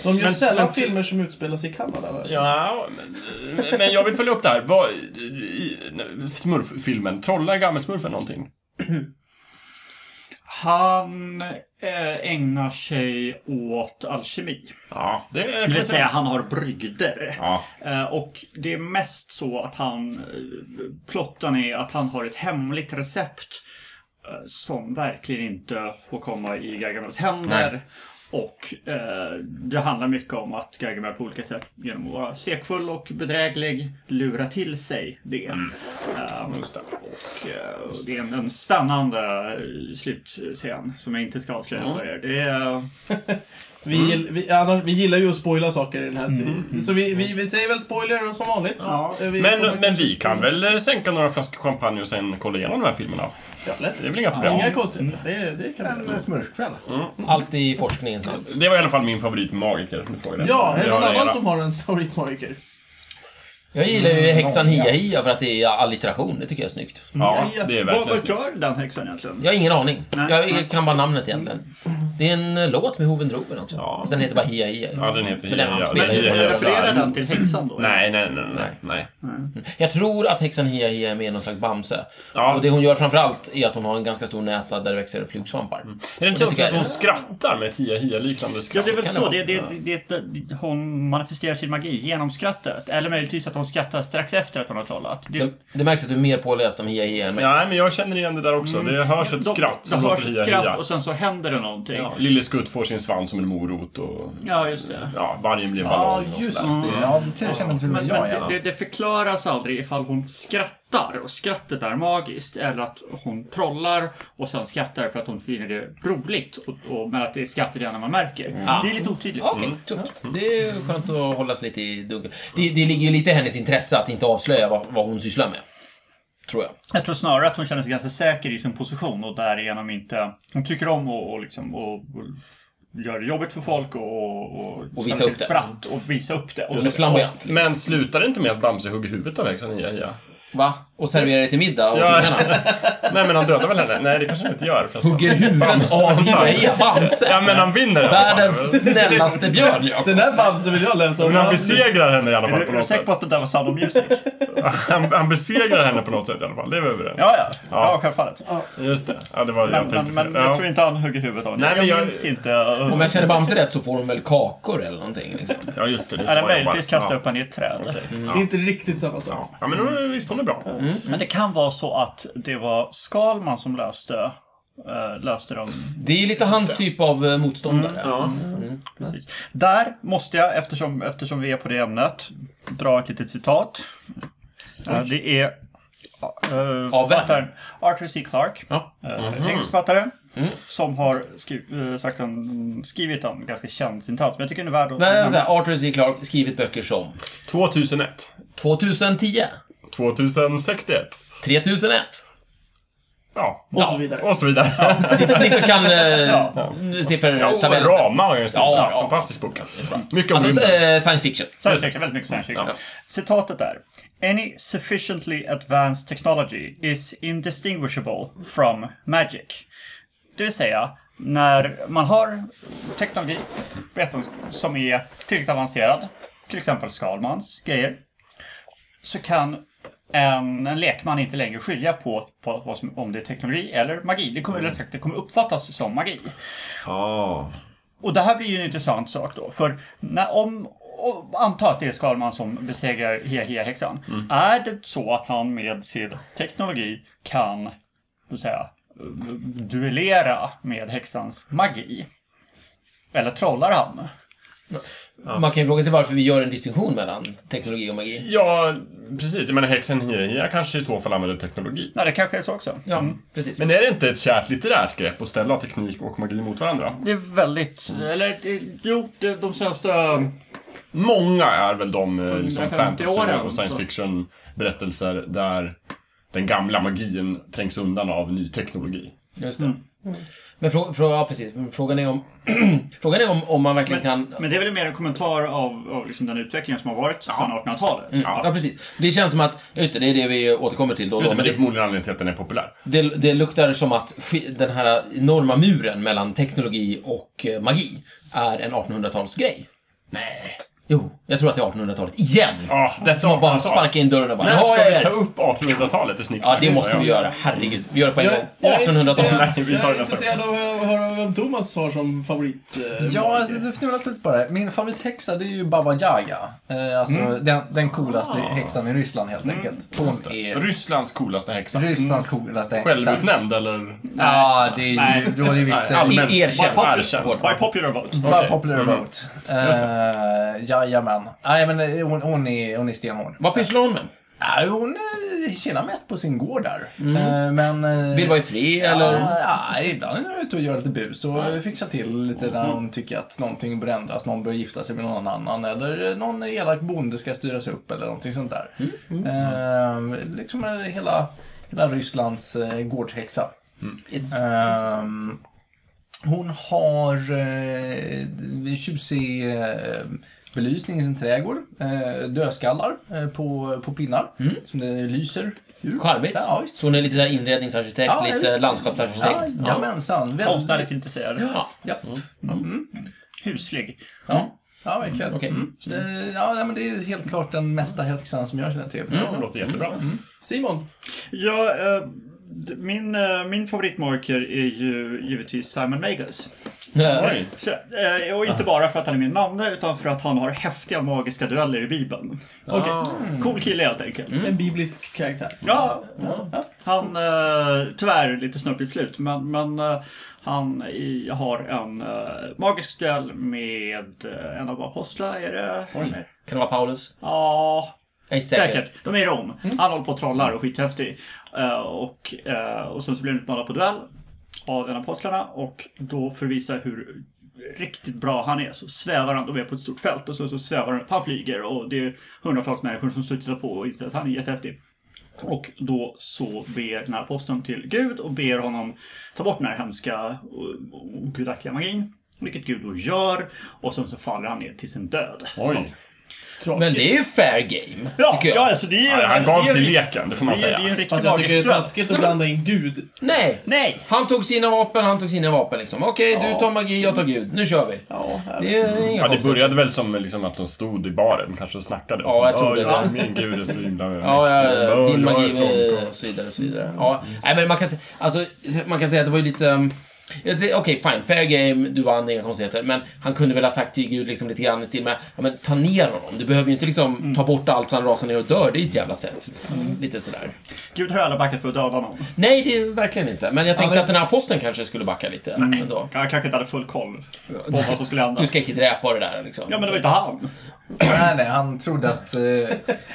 Speaker 3: Mm. Men-
Speaker 1: sällan
Speaker 3: men-
Speaker 1: filmer som utspelar sig i Kanada. va?
Speaker 3: Ja, men, men jag vill följa upp det här. Vad, i- i- smurffilmen, trollar Gammelsmurfen någonting?
Speaker 4: Han eh, ägnar sig åt alkemi.
Speaker 3: Ja, det är...
Speaker 4: Det vill säga, han har brygder.
Speaker 3: Ja.
Speaker 4: Eh, Och det är mest så att han... eh, Plotten är att han har ett hemligt recept eh, som verkligen inte får komma i Gargamels händer. Och eh, det handlar mycket om att Gargamel på olika sätt genom att vara svekfull och bedräglig lurar till sig det. Eh,
Speaker 3: Mm. Just det.
Speaker 4: och, eh, och det är en, en spännande eh, slutscen som jag inte ska avslöja för er. Det är,
Speaker 1: Eh, [laughs] Vi, gill, vi, annars, vi gillar ju att spoila saker i den här serien.
Speaker 5: Mm.
Speaker 1: Så vi, vi, vi säger väl spoiler och som vanligt.
Speaker 4: Ja.
Speaker 1: Eh, Vi kommer
Speaker 3: Men, men
Speaker 1: kanske
Speaker 3: vi kan väl eh, sänka några flaskor champagne och sen kolla igenom de här filmerna?
Speaker 1: skriva lätt.
Speaker 3: Det är väl inga problem?
Speaker 1: Inga konstigheter. Det, det kan vi
Speaker 5: Mm. En eh,
Speaker 1: göra.
Speaker 5: smurfkväll.
Speaker 2: Allt i forskningens namn.
Speaker 3: Det var i alla fall min favoritmagiker. som du frågade.
Speaker 1: Ja, är
Speaker 3: Vi
Speaker 1: det
Speaker 3: har
Speaker 1: någon annan
Speaker 3: era.
Speaker 1: som har en favoritmagiker?
Speaker 2: Jag gillar ju
Speaker 3: Mm,
Speaker 2: häxan Hia Hia för att det är allitteration. Det tycker jag är snyggt.
Speaker 3: Ja, det är
Speaker 4: vad,
Speaker 3: verkligen
Speaker 4: vad
Speaker 3: snyggt.
Speaker 4: gör den häxan egentligen?
Speaker 2: Jag har ingen aning.
Speaker 4: Nej.
Speaker 2: Jag kan bara namnet egentligen. Det är en eh, låt med Hoven Droben också.
Speaker 3: Ja.
Speaker 2: Den heter bara Hia Hia.
Speaker 3: Ja, den heter
Speaker 2: Men den han
Speaker 3: Hia Hia.
Speaker 2: spelar
Speaker 3: Den
Speaker 2: ju.
Speaker 3: Hia Hia.
Speaker 4: Refererar den till häxan då?
Speaker 3: Nej, nej, nej, nej, nej.
Speaker 2: Jag tror att häxan Hia Hia är med i någon slags Bamse.
Speaker 3: Ja.
Speaker 2: Och det hon gör framförallt är att hon har en ganska stor näsa där det växer upp flugsvampar.
Speaker 3: Är det
Speaker 2: Och
Speaker 3: inte så
Speaker 2: tycker
Speaker 3: att
Speaker 2: jag-
Speaker 3: hon skrattar med ett Hia Hia-liknande
Speaker 4: Ja,
Speaker 3: skratt?
Speaker 4: det är väl
Speaker 2: Kan
Speaker 4: så.
Speaker 2: det
Speaker 4: Det, det, det, det, hon manifesterar sin magi genom skrattet. Eller möjligtvis att hon skrattar strax efter att hon har trollat. Det,
Speaker 2: Det, det märks att du är mer påläst om Hia Hia än mig.
Speaker 3: Nej, men jag känner igen det där också. Det hörs ett
Speaker 4: de-
Speaker 3: skratt
Speaker 4: Mm. det
Speaker 3: som
Speaker 4: hörs
Speaker 3: låter
Speaker 4: ett
Speaker 3: Hia
Speaker 4: skratt
Speaker 3: Hia.
Speaker 4: och sen så händer det någonting.
Speaker 3: Ja,
Speaker 4: Ja,
Speaker 3: Lille Skutt får sin svans som en morot och
Speaker 4: just det.
Speaker 3: ja, vargen blir en
Speaker 5: Ja,
Speaker 3: ballong. och
Speaker 5: just
Speaker 3: sådär.
Speaker 5: det. Ja, det känner inte
Speaker 4: Men,
Speaker 5: väl jag
Speaker 4: men
Speaker 5: igen.
Speaker 4: det, det, det förklaras aldrig ifall hon skrattar och skrattet är magiskt eller att hon trollar och sen skrattar för att hon finner det roligt och, och, men att det är skrattet redan när man märker. Det är lite otydligt.
Speaker 2: Ja, Okej,
Speaker 3: Mm.
Speaker 2: tufft. Det är skönt att hålla sig lite i dunkel. Det, det ligger ju lite i hennes intresse att inte avslöja vad, vad hon sysslar med. Tror jag.
Speaker 4: Jag tror snarare att hon känner sig ganska säker i sin position och därigenom inte... Hon tycker om och, och liksom... Och, och gör det jobbigt för folk och... Och,
Speaker 2: Och visa
Speaker 4: känner sig
Speaker 2: upp det.
Speaker 4: spratt och visa upp det. Och
Speaker 2: Hon är flamboyant.
Speaker 3: Men slutar det inte med att Bamse hugger huvudet av häxan Hia Hia?
Speaker 2: Va? Och serverar det till middag och
Speaker 3: Ja. [laughs]
Speaker 2: ungarna.
Speaker 3: Nej, men han dödar väl henne? Nej, det kanske han inte gör. förresten.
Speaker 2: Hugger huvudet av Hia Hia Bamse.
Speaker 3: Ja, men han vinner i alla fall.
Speaker 2: Världens snällaste björn, Jakob.
Speaker 1: Den där Bamse vill jag läsa om.
Speaker 3: Men han besegrar henne i alla
Speaker 4: är
Speaker 3: fall
Speaker 4: du,
Speaker 3: på
Speaker 4: är du
Speaker 3: något
Speaker 4: säker
Speaker 3: sätt.
Speaker 4: på att det där var Sound of
Speaker 3: [laughs]
Speaker 4: Music? ja,
Speaker 3: Han, han besegrar henne på något sätt i alla fall, det är vi överens om.
Speaker 4: ja. Ja, självfallet.
Speaker 3: Just det. Ja, det var det jag
Speaker 4: Men,
Speaker 3: tänkte.
Speaker 4: men, men
Speaker 3: fel.
Speaker 4: jag
Speaker 3: Ja.
Speaker 4: tror inte han hugger huvudet av henne.
Speaker 3: Nej,
Speaker 4: Nej,
Speaker 3: men
Speaker 4: jag,
Speaker 3: jag-
Speaker 4: minns inte.
Speaker 2: Om
Speaker 4: Eller
Speaker 2: jag känner Bamse rätt så får hon väl kakor eller någonting. Liksom.
Speaker 3: Ja, just det. det är så jag
Speaker 4: möjligtvis
Speaker 3: jobbar.
Speaker 4: kasta
Speaker 3: ja. Mm.
Speaker 4: upp henne Mm. i ett träd.
Speaker 1: Det är inte riktigt samma sak.
Speaker 3: Ja, men då, visst, hon är bra.
Speaker 4: Men det kan vara så att det var Skalman som löste, eh, löste dem
Speaker 2: Det är lite hans typ av eh, motståndare.
Speaker 3: Ja.
Speaker 4: Precis. Där måste jag, eftersom, eftersom vi är på det ämnet, dra ett litet citat. Eh, Det är uh,
Speaker 2: Av vem?
Speaker 4: författaren Arthur C. Clarke,
Speaker 2: Ja. Mhm. Mm.
Speaker 4: eh, engelsk författare, som har skri- eh, sagt en, skrivit en ganska känd sentens, men jag tycker den är värd att...
Speaker 2: Men, eh, så här, Arthur C. Clarke skrivit böcker som
Speaker 3: 2001.
Speaker 2: 2010,
Speaker 3: 2061.
Speaker 2: 3001,
Speaker 3: Ja.
Speaker 1: Och så vidare.
Speaker 3: Och så vidare. Ja,
Speaker 2: Ni som kan eh,
Speaker 3: och
Speaker 2: siffertabellen.
Speaker 3: Rama har ju skrivit.
Speaker 2: Ja,
Speaker 3: Ja,
Speaker 2: ja.
Speaker 3: Fantastisk bok. jättebra. Mycket om
Speaker 2: Alltså,
Speaker 3: rymden.
Speaker 2: eh, science fiction.
Speaker 4: Science fiction, väldigt mycket science fiction. Citatet är Any sufficiently advanced technology is indistinguishable from magic. Det vill säga, när man har teknologi vetens- som är tillräckligt avancerad, till exempel Skalmans grejer, så kan en, en lekman inte längre skilja på vad, vad som, om det är teknologi eller magi. Det kommer, eller sagt, det kommer uppfattas som magi.
Speaker 3: Ja.
Speaker 4: Och det här blir ju en intressant sak då, för när, om, om anta att det är Skalman som besegrar Hia Hia häxan. Är det så att han med sin teknologi kan, så att säga, duellera med häxans magi? Eller trollar han?
Speaker 2: Man kan ju fråga sig varför vi gör en distinktion mellan teknologi och magi.
Speaker 3: Ja, precis. Jag menar häxan Hirahia kanske i så fall använder teknologi.
Speaker 4: Nej, det kanske är så också.
Speaker 2: Ja, precis.
Speaker 3: Men är det inte ett kärt litterärt grepp att ställa teknik och magi mot varandra?
Speaker 4: Det är väldigt, eller det, jo, det, de senaste...
Speaker 3: Många är väl de eh, liksom
Speaker 4: 150
Speaker 3: fantasy
Speaker 4: åren,
Speaker 3: och science
Speaker 4: så.
Speaker 3: fiction berättelser där den gamla magin trängs undan av ny teknologi.
Speaker 2: Just det. Men frå, frå, ja, precis. Men Frågan är om, [clears throat] frågan är om, om man verkligen kan...
Speaker 4: Men det är väl mer en kommentar av, av liksom den utvecklingen som har varit sedan 1800-talet.
Speaker 2: Ja, precis. Det känns som att... Just det, det är det vi återkommer till då. och
Speaker 3: Just
Speaker 2: då
Speaker 3: det, men det är
Speaker 2: det-
Speaker 3: förmodligen anledningen till att den är populär.
Speaker 2: Det, det luktar som att sk- den här enorma muren mellan teknologi och eh, magi är en 1800-talsgrej.
Speaker 3: Nej.
Speaker 2: Jo, jag tror att det är 1800-talet igen.
Speaker 3: Ja, det
Speaker 2: Som man bara sparkar in dörren och bara
Speaker 3: Ah,
Speaker 2: "Ja,
Speaker 3: När ska
Speaker 2: jag
Speaker 3: vi ta
Speaker 2: är.
Speaker 3: upp 1800-talet i
Speaker 2: Ja,
Speaker 3: snicksnack?
Speaker 2: det måste vi
Speaker 3: Ja.
Speaker 2: göra. Herregud. Vi gör det på en
Speaker 1: Jag,
Speaker 2: gång.
Speaker 1: jag är
Speaker 2: 1800-talet.
Speaker 1: intresserad-
Speaker 3: Vi tar
Speaker 1: jag är
Speaker 3: det nästa
Speaker 1: intresserad av att höra vem Thomas har som favorit. eh,
Speaker 5: Ja, alltså,
Speaker 1: magiker.
Speaker 5: du fnulat lite på det. Min favorithäxa det är ju Baba Yaga. Eh, alltså den, den coolaste häxan i Ryssland helt enkelt. Hon är
Speaker 3: Rysslands coolaste häxa.
Speaker 5: Rysslands coolaste häxa.
Speaker 3: Självutnämnd eller?
Speaker 5: Ja, det är
Speaker 4: Nej.
Speaker 5: ju råder ju viss...
Speaker 3: Nej, allmänt.
Speaker 2: I- erkänt.
Speaker 3: Bara erkänt.
Speaker 2: Hårt.
Speaker 4: By popular vote.
Speaker 5: Bara
Speaker 3: Okej.
Speaker 5: popular vote. Eh, jajamän. Nej, men eh, hon, hon, är, hon är stenhård.
Speaker 2: Vad pysslar hon med?
Speaker 5: Nej, hon eh, tjänar mest på sin gård där. Eh, men... eh,
Speaker 2: Vill vara i fred, eller?
Speaker 5: Ja, ja, ibland är hon ute och gör lite bus och fixar till lite när hon tycker att någonting bör ändras. Någon bör gifta sig med någon annan eller någon elak bonde ska styras upp eller någonting sånt där.
Speaker 2: Mm,
Speaker 5: Eh, liksom eh, hela, hela Rysslands eh, gårdhäxa.
Speaker 2: Yes.
Speaker 5: Ehm, hon har eh, tjusig eh, belysning i sin trädgård. Eh, dödskallar eh, på, på pinnar som det lyser ur.
Speaker 2: Mm. Charmigt.
Speaker 5: Ja, visst.
Speaker 2: Så hon är lite så här inredningsarchitekt,
Speaker 5: Ja,
Speaker 2: lite
Speaker 5: visst.
Speaker 2: landskapsarkitekt.
Speaker 5: Jajamensan. Väldigt-
Speaker 4: Konstnärligt intresserad.
Speaker 2: Ja.
Speaker 5: Ja,
Speaker 4: Huslig.
Speaker 5: ja. ja verkligen.
Speaker 2: okej.
Speaker 5: Mm. Så det- Ja, nej, men det är helt klart den mesta häxan som jag känner till.
Speaker 2: Mm.
Speaker 3: Det låter jättebra.
Speaker 1: Simon,
Speaker 4: Ja, eh, d- min, eh, min favoritmarker är ju givetvis Simon Magus.
Speaker 2: Ja.
Speaker 3: Oj.
Speaker 4: Så, eh, och inte bara för att han är min namne utan för att han har häftiga magiska dueller i Bibeln.
Speaker 1: okej.
Speaker 4: Cool kille helt enkelt.
Speaker 1: En biblisk karaktär.
Speaker 4: Ja, han eh, tyvärr lite snurpigt slut men, men eh, han i, har en eh, magisk duell med eh, en av apostlarna är det?
Speaker 2: Kan det vara Paulus?
Speaker 4: Ja,
Speaker 2: Jag är inte säker.
Speaker 4: Säkert. De är i Rom.
Speaker 2: Mm.
Speaker 4: Han håller på och trollar och är skithäftig. Eh, och, eh, och sen så blir han utmanad på duell av en av apostlarna och då för att visa hur riktigt bra han är så svävar han, de är på ett stort fält och så, så svävar han upp, han flyger och det är hundratals människor som står och tittar på och inser att han är jättehäftig. Och då så ber den här aposteln till Gud och ber honom ta bort den här hemska och- och ogudaktiga magin. Vilket Gud då gör och sen så faller han ner till sin död.
Speaker 3: Oj.
Speaker 2: Men det är ju fair game,
Speaker 4: Ja,
Speaker 2: tycker jag.
Speaker 4: ja alltså det är
Speaker 3: Ja, han
Speaker 4: det är-
Speaker 3: gav sig i leken, det får man
Speaker 4: det är, det är en
Speaker 3: säga.
Speaker 4: riktig
Speaker 1: Fast jag tycker det är
Speaker 4: magisk
Speaker 1: taskigt att blanda in Gud.
Speaker 2: Nej!
Speaker 4: Nej!
Speaker 2: Han tog sina vapen, han tog sina vapen liksom. Okej, du tar magi, jag tar gud. Nu kör vi.
Speaker 1: Ja,
Speaker 2: Det är inga
Speaker 3: Ja, det
Speaker 2: konstigheter.
Speaker 3: började väl som liksom att de stod i baren kanske och snackade. och
Speaker 2: Ja, jag
Speaker 3: så,
Speaker 2: tror
Speaker 3: "Åh,
Speaker 2: det.
Speaker 3: Ja, min gud är så himla
Speaker 2: Ja, ja,
Speaker 3: mäktig."
Speaker 2: ja.
Speaker 3: "Åh,
Speaker 2: Din
Speaker 3: jag är
Speaker 2: magi
Speaker 3: trång
Speaker 2: eh,
Speaker 3: på
Speaker 2: och så vidare. Och så vidare. Ja. Nej, men man kan, sä- alltså, man kan säga att det var ju lite... um, jag säger, Okej, fine. Fair game, du vann, inga konstigheter. Men han kunde väl ha sagt till Gud liksom, lite grann i stil med ja, men, ta ner honom. Du behöver ju inte liksom, ta bort allt så han rasar ner och dör. Det är ju ett jävla sätt. Lite sådär.
Speaker 4: Gud har alla backat för att döda någon.
Speaker 2: Nej, det är verkligen inte. Men jag tänkte
Speaker 1: det-
Speaker 2: att den här posten kanske skulle backa lite. Ändå.
Speaker 4: Jag kanske inte hade full koll på vad som skulle hända.
Speaker 2: Du ska inte dräpa det där liksom.
Speaker 4: Ja men det var inte han.
Speaker 5: [clears throat] Nej, nej, han trodde att... [laughs] eh,
Speaker 1: Det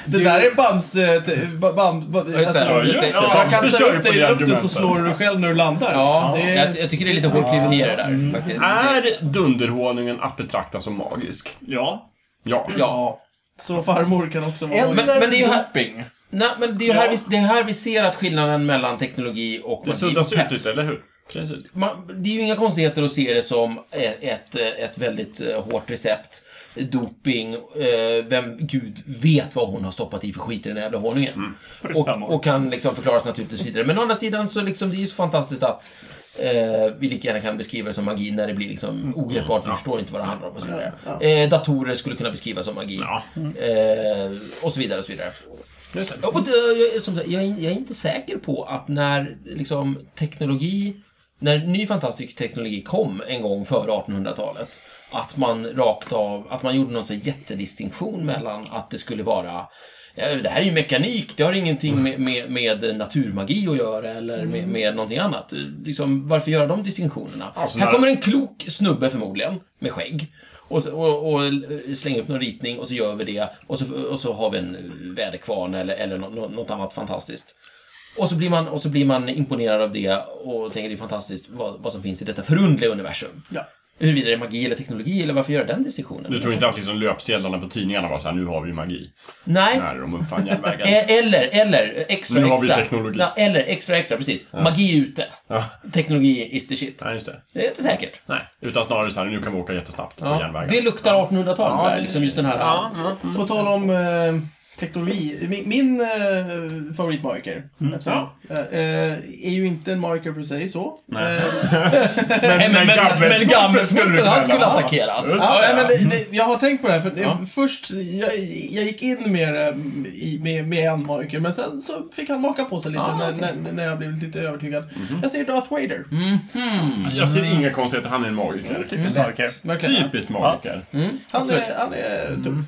Speaker 1: där är Bams... eh, t- ba- Bam, ba,
Speaker 2: just det.
Speaker 1: alltså,
Speaker 2: just det.
Speaker 1: Ja,
Speaker 3: Bamse
Speaker 1: jag kastar
Speaker 3: kör på
Speaker 1: upp dig i
Speaker 3: det
Speaker 1: luften så
Speaker 3: argumentet.
Speaker 1: slår du själv när du landar.
Speaker 2: Ja,
Speaker 1: det
Speaker 2: jag, jag tycker det är lite hårt kliveri det
Speaker 3: Mm.
Speaker 2: där faktiskt.
Speaker 3: Är dunderhonungen att betrakta som magisk?
Speaker 4: Ja.
Speaker 3: Ja.
Speaker 2: Ja.
Speaker 1: Så farmor kan också vara...
Speaker 5: Eller
Speaker 2: men det är ju här-
Speaker 5: doping.
Speaker 2: Nej, men det är ju
Speaker 3: Ja.
Speaker 2: här, vi, det är här vi ser att skillnaden mellan teknologi och magi
Speaker 3: Det
Speaker 2: och
Speaker 3: suddas ut
Speaker 2: peps.
Speaker 3: lite, eller hur? Precis.
Speaker 2: man, det är ju inga konstigheter att se det som ett, ett, ett väldigt eh, hårt recept. Doping, eh, vem gud vet vad hon har stoppat i för skit i den här jävla honungen.
Speaker 4: Mm. för det stämmer.
Speaker 2: och, och kan liksom förklaras naturligtvis vidare. Men å andra sidan så liksom, det är ju så fantastiskt att eh, vi lika gärna kan beskriva det som magi när det blir
Speaker 4: Mm.
Speaker 2: liksom ogreppbart, vi förstår inte vad det handlar om och så vidare. Eh, datorer skulle kunna beskrivas som magi. Eh, och så vidare och så vidare.
Speaker 3: Just det.
Speaker 2: Ja, Och det, jag, som sagt, jag, är, jag är inte säker på att när liksom, teknologi, när ny fantastisk teknologi kom en gång före 1800-talet, att man rakt av, att man gjorde någon sån här jättedistinktion mellan att det skulle vara eh, det här är ju mekanik, det har ingenting
Speaker 3: Mm.
Speaker 2: med, med, med naturmagi att göra eller med, med någonting annat. Liksom, varför göra de distinktionerna?
Speaker 3: Alltså,
Speaker 2: här
Speaker 3: när-
Speaker 2: kommer en klok snubbe förmodligen, med skägg. Och, så- och, och slänga upp någon ritning och så gör vi det. Och så, och så har vi en väderkvarn eller, eller nå- nå- något annat fantastiskt. Och så, blir man, och så blir man imponerad av det och tänker det är fantastiskt vad, vad som finns i detta förundliga universum.
Speaker 4: Ja.
Speaker 2: Huruvida det är magi eller teknologi eller varför göra den
Speaker 3: Du
Speaker 2: distinktionen?
Speaker 3: tror inte att liksom löpsedlarna på tidningarna var så här, nu har vi magi.
Speaker 2: Nej,
Speaker 3: När de uppfann järnvägen.
Speaker 2: Eh, Eller, eller, extra,
Speaker 3: Nu har vi
Speaker 2: extra.
Speaker 3: teknologi.
Speaker 2: Ja, eller, extra, extra, precis. Magi är ute.
Speaker 3: Ja.
Speaker 2: Teknologi is the shit.
Speaker 3: Nej, just det.
Speaker 2: Det är inte säkert.
Speaker 3: Nej. Utan snarare så här, nu kan vi åka jättesnabbt på
Speaker 2: Ja.
Speaker 3: järnvägen.
Speaker 2: Det luktar 1800-tal,
Speaker 1: Ja,
Speaker 2: där,
Speaker 1: det-
Speaker 2: liksom just den här...
Speaker 1: På tal om eh, teknologi. Min, min eh, favoritmarker eftersom, eh, eh, är ju inte en marker per se så. Eh,
Speaker 2: Nej, men, men, men,
Speaker 3: Gammelsmurfen
Speaker 2: gammelsmurfen, han skulle
Speaker 3: Ja.
Speaker 2: attackeras.
Speaker 1: Ja,
Speaker 2: Ja,
Speaker 1: nej,
Speaker 2: ja.
Speaker 1: men det, det, jag har tänkt på det här. För det-
Speaker 2: Ja.
Speaker 1: Först, jag, jag gick in med, det, mm, i- med, med en marker, men sen så fick han maka på sig lite
Speaker 2: Ah,
Speaker 1: när,
Speaker 2: okej. Mhm. Mm,
Speaker 1: när, när jag blev lite övertygad. Jag säger Darth Vader.
Speaker 3: Jag ser inga konstigheter, han är en magiker.
Speaker 4: Typiskt Darker.
Speaker 2: Verkligen.
Speaker 3: Typiskt magiker.
Speaker 2: Mm.
Speaker 1: Han, är, han är tuff.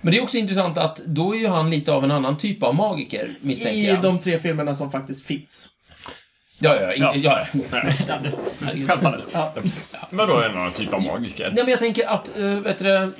Speaker 2: Men det är också intressant att då är ju han lite av en annan typ av magiker, misstänker
Speaker 1: I
Speaker 2: jag.
Speaker 1: de tre filmerna som faktiskt finns.
Speaker 2: Ja, ja, ja. ja. ja.
Speaker 4: Självfallet.
Speaker 3: Vadå en annan typ av magiker?
Speaker 2: Nej, men jag tänker att, äh, vet du, är...